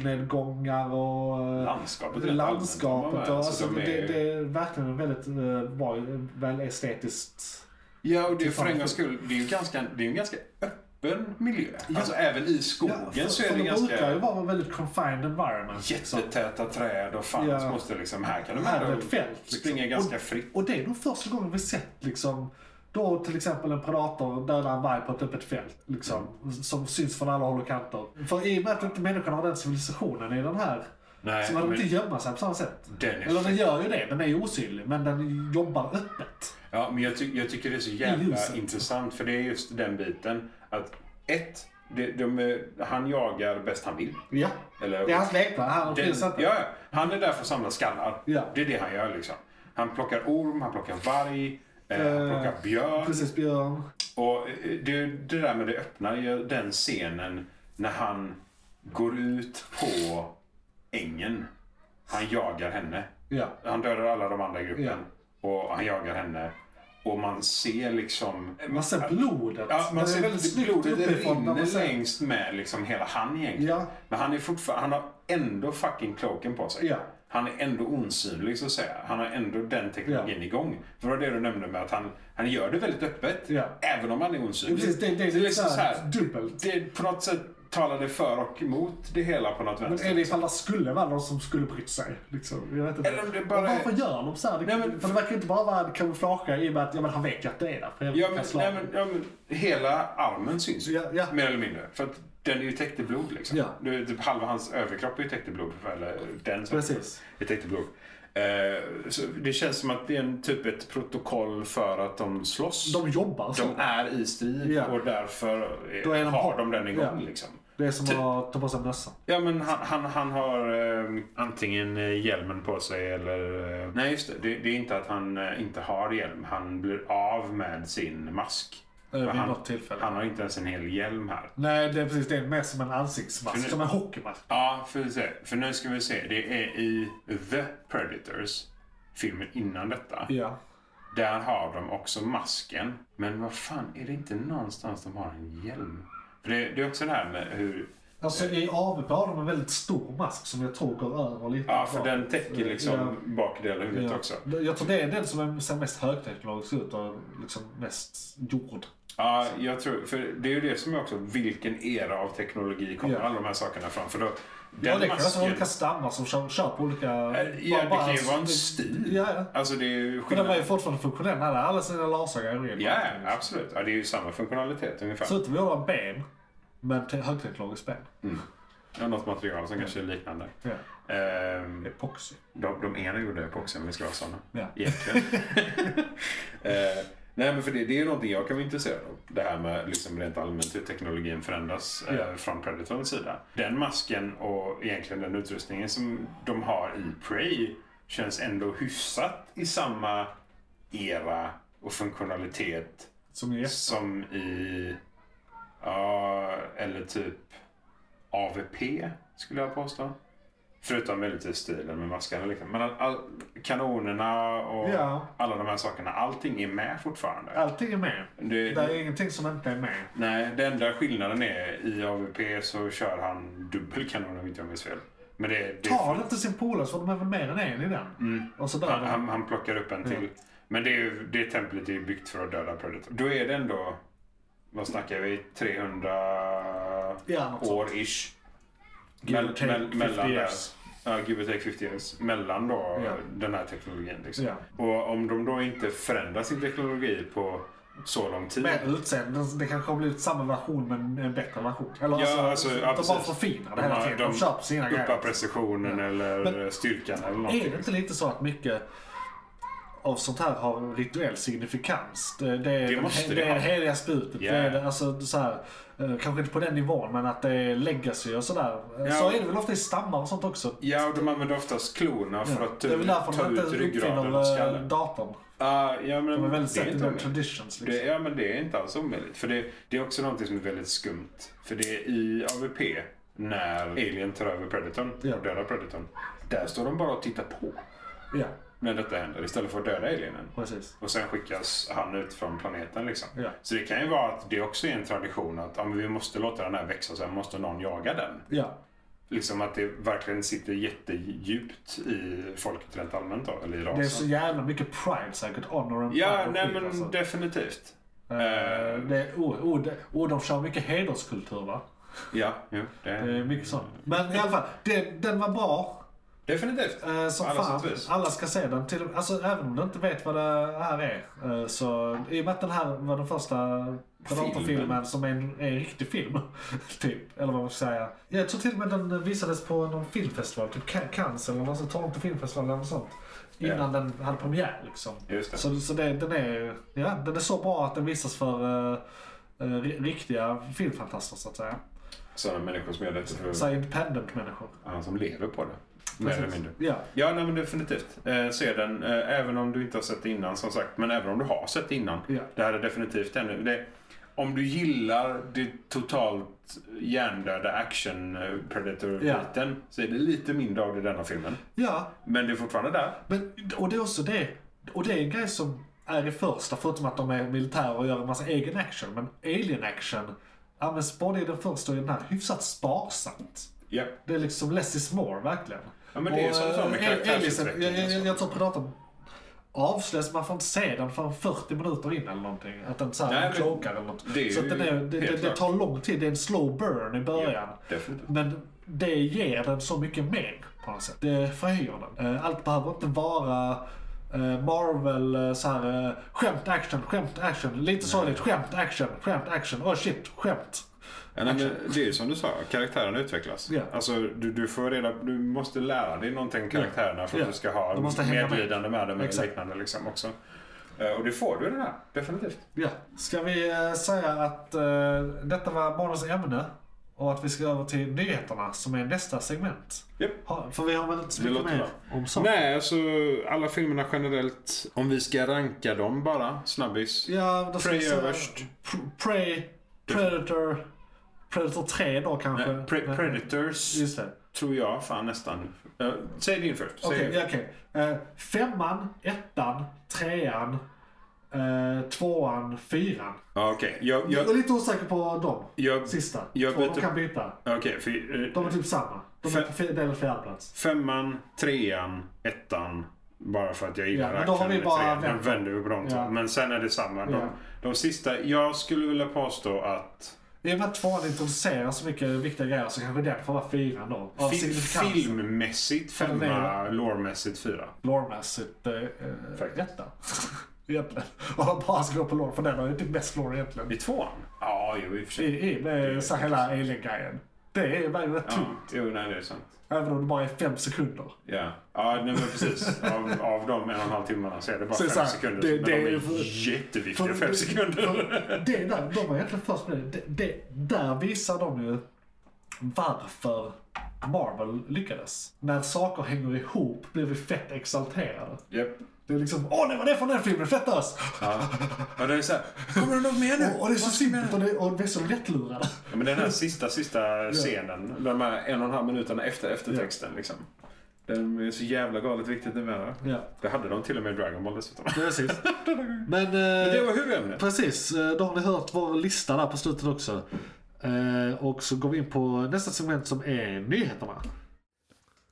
S1: Solnedgångar och eh,
S4: Landskapet rent allmänt,
S1: landskapet.
S4: de
S1: Och,
S4: har med,
S1: alltså,
S4: så de
S1: det,
S4: är-
S1: det är verkligen en väldigt eh, bra, väl estetiskt.
S4: Ja, och det är
S1: Till
S4: för en
S1: fan.
S4: gångs skull, det är ju ganska, det är en ganska öppen miljö. Alltså även i skogen
S1: för,
S4: så är
S1: för
S4: det
S1: brukar ju
S4: ganska
S1: vara en väldigt confined environment. liksom.
S4: jättetäta träd och fan
S1: Ja.
S4: så måste liksom, här kan de
S1: Här är
S4: här
S1: ett fält. liksom.
S4: springa ganska fritt.
S1: Och det är nog första gången vi sett liksom, då till exempel en predator döda en varg på ett öppet fält. Liksom, Som syns från alla håll och kanter. För i och med att inte människan har den civilisationen i den här
S4: Nej,
S1: så man
S4: men-
S1: inte gömma sig på samma sätt.
S4: Den är-
S1: Eller den gör ju det, den är ju osynlig. Men den jobbar öppet.
S4: Ja, men jag, ty- jag tycker det är så jävla
S1: ljuset.
S4: intressant för det är just den biten att ett, det, de, är- han jagar bäst han vill.
S1: Ja.
S4: Eller-
S1: det är hans lekplan, han
S4: Den,
S1: finns inte.
S4: ja, ja. han är där för att samla skallar.
S1: Ja.
S4: Det är det han gör liksom. Han plockar orm, han plockar varg, eh, han
S1: Eh,
S4: plockar björn.
S1: Precis, Björn.
S4: Och eh, det, det där med det öppna, ju den scenen när han går ut på ängen. Han jagar henne.
S1: Ja.
S4: Han dödar alla de andra i gruppen. Och han jagar henne. Och man ser liksom...
S1: Eh, Man ser blodet.
S4: Ja, man
S1: Det är
S4: ser väldigt blodet det
S1: uppifrån när man
S4: rinner
S1: ser-
S4: längst med liksom hela han egentligen.
S1: Ja.
S4: Men han är fortfarande, han har ändå fucking kloken på sig.
S1: Ja.
S4: Han är ändå osynlig så att säga. Han har ändå den teknologin igång. För det var det du nämnde med att han, han gör det väldigt öppet.
S1: Ja.
S4: Även om han är
S1: Ja,
S4: osynlig.
S1: precis, det, det,
S4: är liksom så här,
S1: dubbelt.
S4: det, på något sätt talar det för och emot det hela på något
S1: Men
S4: vänster.
S1: är det ifall det skulle vara någon som skulle brytt sig? Liksom? Jag vet inte.
S4: Eller om det bara
S1: Och varför
S4: är-
S1: gör de så här? Det,
S4: Nej, men-
S1: för det verkar inte bara vara en kamouflage i och med att ja, men han vet ju att det är där. För jag
S4: Ja
S1: kan
S4: men,
S1: slå-
S4: nej, men, ja, men hela armen syns ju.
S1: Ja, ja.
S4: Mer eller mindre. För att den är ju täckt i blod liksom.
S1: Ja.
S4: Det är typ halva hans överkropp är ju täckt i blod. Eller den som
S1: Precis.
S4: är täckt i blod. Eh, så det känns som att det är en, typ ett protokoll för att de slåss.
S1: De jobbar så.
S4: De är i strid
S1: Ja.
S4: och därför eh,
S1: Då är de
S4: har
S1: på.
S4: de den igång
S1: Ja.
S4: liksom.
S1: Det är som
S4: Typ.
S1: att ta på sig mössan. eh,
S4: Ja men han, han, han har eh, antingen eh, hjälmen på sig eller... Eh, nej just det. det, det är inte att han eh, inte har hjälm. Han blir av med sin mask.
S1: Eh, vid
S4: För han,
S1: något tillfälle.
S4: han har inte ens en hel hjälm här.
S1: Nej, det är precis. Det är mer som en ansiktsmask.
S4: För nu-
S1: Som en hockeymask.
S4: Ja, för, se, för nu ska vi se. Det är i The Predators, filmen innan detta.
S1: Ja.
S4: Där har de också masken. Men vad fan, är det inte någonstans de har en hjälm? För det, det är också det här med hur...
S1: Alltså i AVP har de en väldigt stor mask som jag tror går över lite.
S4: Ja, för den täcker liksom
S1: Ja.
S4: bakdelen av huvudet
S1: Ja.
S4: också.
S1: Jag tror det är den som ser mest högteknologisk ut och liksom mest gjord.
S4: Ja, jag tror, för det är ju det som är också vilken era av teknologi kommer
S1: Ja.
S4: alla de här sakerna fram. För då,
S1: Ja,
S4: den
S1: det kan vara
S4: masken,
S1: olika stammar som kör, kör på olika...
S4: ja, det kan ju vara en stil.
S1: Ja, ja.
S4: Alltså det är ju
S1: Men den var ju
S4: skillnad.
S1: fortfarande funktionell. Den hade alla sina laserögon i den.
S4: Ja, absolut. Ja, det är ju samma funktionalitet ungefär.
S1: Ser ut att vara en ben, men till högteknologiskt ben.
S4: Mm. Ja, något material som kanske är liknande.
S1: Ja.
S4: Ehm,
S1: Epoxy.
S4: de, de ena gjorde epoxi om vi ska vara sådana.
S1: Ja.
S4: Egentligen. Ehm, nej men för det, det är någonting jag kan vara intresserad av. Det här med liksom rent allmänt hur teknologin förändras eh,
S1: Ja.
S4: från Predatorns sida. Den masken och egentligen den utrustningen som de har i Prey känns ändå hyfsat i samma era och funktionalitet
S1: Som är
S4: som i... Ja, eller typ AVP skulle jag påstå. Förutom möjligtvis stilen med maskarna. Liksom. Men all, all, kanonerna och
S1: Ja.
S4: alla de här sakerna. Allting är med fortfarande.
S1: Allting är med.
S4: Det-
S1: Det är ingenting som inte är med.
S4: Nej, den enda skillnaden är i AVP så kör han dubbelkanon om inte jag minns fel. Men det, Mm. det
S1: Tar han inte sin polare så får de även mer än en i den. Och så dör
S4: Han,
S1: de.
S4: han, han plockar upp en till. Men det, är, ju- det templet är ju byggt för att döda Predator. Då är det ändå, vad snackar vi, 300
S1: Ja, något sånt.
S4: år-ish.
S1: Give or take 50
S4: mellan där.
S1: years.
S4: Ja, give or take 50 years. Mellan då
S1: Ja.
S4: den här teknologin. Liksom.
S1: Ja.
S4: Och om de då inte förändrar sin teknologi på så lång tid.
S1: Med utseende. Det kanske har blivit samma version men en bättre version. Eller
S4: ja, alltså, ja,
S1: de
S4: precis.
S1: bara förfinar det hela
S4: har-
S1: tiden. De, kör på sina
S4: Uppar
S1: grejer.
S4: precisionen eller
S1: Men-
S4: styrkan eller någonting.
S1: Är det inte lite så att mycket av sånt här har rituell signifikans? Det, det är,
S4: Det måste
S1: det,
S4: det
S1: är
S4: ha.
S1: det heliga sprutet.
S4: Ja.
S1: Det är, det- alltså, så här, eh, kanske inte på den nivån, men att det är legacy och sådär. Eh,
S4: Ja.
S1: Så är det väl ofta i stammar och sånt också.
S4: Ja, och de använder oftast klorna för att typ
S1: det är väl därför
S4: ta
S1: man inte
S4: ut ryggraden och
S1: uppfinner eh,
S4: skallen.
S1: datorn.
S4: Ah, ja, men
S1: De är väldigt
S4: det är
S1: set in
S4: inte
S1: their
S4: omöjligt.
S1: traditions. Liksom.
S4: Det, ja, men det är inte alls omöjligt. För det, det är också någonting som är väldigt skumt. För det är i AVP, när Alien tar över Predatorn
S1: Ja.
S4: och dödar Predatorn. Där står de bara och tittar på
S1: Ja,
S4: när detta händer istället för att döda alienen.
S1: precis.
S4: Och sen skickas han ut från planeten liksom.
S1: Ja.
S4: Så det kan ju vara att det också är en tradition att ja, men vi måste låta den här växa, sen måste någon jaga den.
S1: Ja,
S4: Liksom att det verkligen sitter jättedjupt i folket rent allmänt då, eller i rasen.
S1: det är så jävla mycket pride säkert. Honor and
S4: Alltså- Ja,
S1: pride och
S4: nej
S1: skit,
S4: men
S1: alltså.
S4: definitivt.
S1: Eh, Det är, oh, oh, det, oh, de kör mycket hederskultur va?
S4: Ja, jo,
S1: Det
S4: det,
S1: är mycket sånt. Men i alla fall, det, den var bra.
S4: definitivt.
S1: Eh, som
S4: På alla
S1: fan.
S4: sätt och vis.
S1: Alla ska se den. Till, alltså, även om du inte vet vad det här är. eh, så, I och med att den här var den första predatorfilmen
S4: Filmen.
S1: som är en, är en riktig film. typ, eller vad man ska säga. Jag tror till och med den visades på någon filmfestival. Typ Ca- Cannes eller någon sån Toronto filmfestival eller något sånt. Innan den hade premiär liksom.
S4: Just det.
S1: Så, så det, den, är, ja, den är så bra att den visas för eh, eh, ri- riktiga filmfantaster så att
S4: Mm.
S1: säga.
S4: Sådana människor som gör detta för
S1: Så här independent människor.
S4: han som lever på det. Mer eller mindre.
S1: Ja.
S4: Ja, nej, men definitivt. Eh, se den, eh, även om du inte har sett det innan som sagt. Men även om du har sett det innan.
S1: Ja.
S4: Det här är definitivt ännu. Det, om du gillar det totalt hjärndöda action eh, predator-biten så är det lite mindre av det i denna filmen.
S1: ja,
S4: Men det är fortfarande där.
S1: Men, och det är också det. Och det är en grej som är i första, förutom att de är militärer och gör en massa egen action. Men alien action används både i den första och i den här hyfsat sparsamt.
S4: Ja.
S1: Det är liksom less is more, verkligen.
S4: Ja, men det är ju som du sa med
S1: eh, al-
S4: karaktärsutveckling
S1: aliens-
S4: alltså.
S1: jag,
S4: och
S1: jag,
S4: så.
S1: jag tror Predatorn avslöjas, man får inte se den förrän 40 minuter in eller någonting. Att den
S4: Nej,
S1: såhär
S4: men
S1: klokar eller något.
S4: det är
S1: så att
S4: ju
S1: den är, det,
S4: helt
S1: det, det
S4: klart.
S1: tar lång tid, det är en slow burn i början.
S4: Definitivt.
S1: Men det ger den så mycket mer på något sätt. Det förhöjer den. Eh, Allt behöver inte vara eh, Marvel eh, så här eh, skämt action, skämt action, lite sorgligt, skämt action, skämt action, oh shit, skämt.
S4: Ja, nej, men det är ju som du sa, karaktären utvecklas.
S1: Ja.
S4: Alltså, du, du, får reda, du måste lära dig någonting om karaktärerna för att
S1: Ja.
S4: du ska ha
S1: De måste hänga med.
S4: medlidande med dem eller
S1: Exakt.
S4: liknande. Liksom också. Eh, Och det får du i den här, definitivt.
S1: Ja. Ska vi eh, säga att eh, detta var morgonens ämne och att vi ska över till nyheterna som är nästa segment.
S4: Japp.
S1: Ha, för vi har väl inte så
S4: Det
S1: mycket
S4: låter
S1: mer
S4: bra.
S1: om saker.
S4: Nej, alltså alla filmerna generellt. Om vi ska ranka dem bara, snabbis.
S1: Ja, då ska
S4: Prey
S1: vi säga-
S4: överst.
S1: Pr- Prey, Predator, Predator 3 då kanske.
S4: Nej, Eh, pre- Predators
S1: Just det.
S4: tror jag fan nästan. Eh, säg din först. Säg
S1: Okej,
S4: din
S1: ja,
S4: först.
S1: okej. Eh, femman, ettan, trean, eh, tvåan, fyran.
S4: Ja, okej. Jag,
S1: Jag är
S4: jag,
S1: lite osäker på dem.
S4: jag,
S1: Sista.
S4: jag
S1: Två, de
S4: byter-
S1: kan byta.
S4: okej, för, eh,
S1: De är typ samma. De är
S4: Fem-
S1: på fjär- del och fjärde plats.
S4: Femman, trean, ettan. Bara för att jag gillar
S1: Ja, men då har vi
S4: action i
S1: bara
S4: trean.
S1: vänt
S4: Jag vänder vi på de två.
S1: Ja.
S4: Men sen är det samma. De,
S1: Ja.
S4: de sista, jag skulle vilja påstå att
S1: I och med att tvåan introducerar så mycket viktiga grejer så kanske den får vara fyran då. Av
S4: fil,
S1: signifikans.
S4: filmmässigt
S1: För den är-
S4: femma, lårmässigt fyra.
S1: Lore-mässigt eh, eh,
S4: Faktiskt.
S1: etta. egentligen. Om man bara ska gå på lore, för den har ju typ mest lore egentligen.
S4: I tvåan? Ja, jo i och för
S1: I,
S4: sig.
S1: i med så här hela alien-grejen. Det är ju rätt
S4: Ja,
S1: tungt.
S4: jo, nej, det är sant.
S1: Även om det bara är fem sekunder.
S4: Ja, ja nej, men precis. Av, av de en och en halv timmarna så är det bara
S1: Så
S4: fem
S1: så här,
S4: sekunder.
S1: det-
S4: men
S1: det
S4: de
S1: är
S4: är
S1: för-
S4: jätteviktiga
S1: för-
S4: fem sekunder.
S1: Det där, de var egentligen först med det. det. Där visar de ju varför Marvel lyckades. När saker hänger ihop blir vi fett exalterade.
S4: Japp.
S1: Det är liksom, åh det var det från den filmen, fett ös!
S4: Ja. ja, det är så här. Kommer du något mer nu?
S1: Och, och det är så simpelt och, det, och vi är så lättlurade.
S4: Ja, men den här sista, sista scenen. De här en och en halv minuterna efter eftertexten. Liksom. Den är så jävla galet viktigt det med.
S1: Ja,
S4: Det hade de till och med i Dragon Ball dessutom.
S1: precis. Men, eh,
S4: Det var huvudämnet.
S1: precis, eh, då har ni hört vår lista där på slutet också. Eh, och så går vi in på nästa segment som är nyheterna.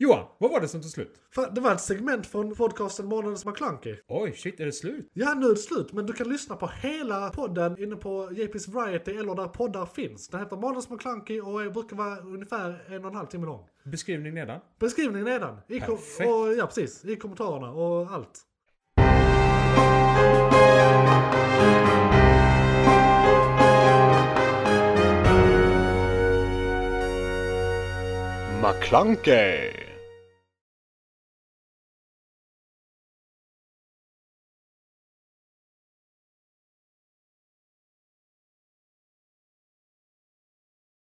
S2: Johan, vad var det som tog slut?
S1: Fan, Det var ett segment från podcasten Månadens McKlunky.
S2: Oj, shit, är det slut?
S1: Ja, nu är det slut, men du kan lyssna på hela podden inne på JP's Variety eller där poddar finns. Den heter Manus McClunky och är- brukar vara ungefär en och en halv timme lång.
S2: Beskrivning nedan.
S1: Beskrivningen nedan. I kom-
S2: Perfekt.
S1: och, ja, precis. I kommentarerna och allt.
S3: McClunkey.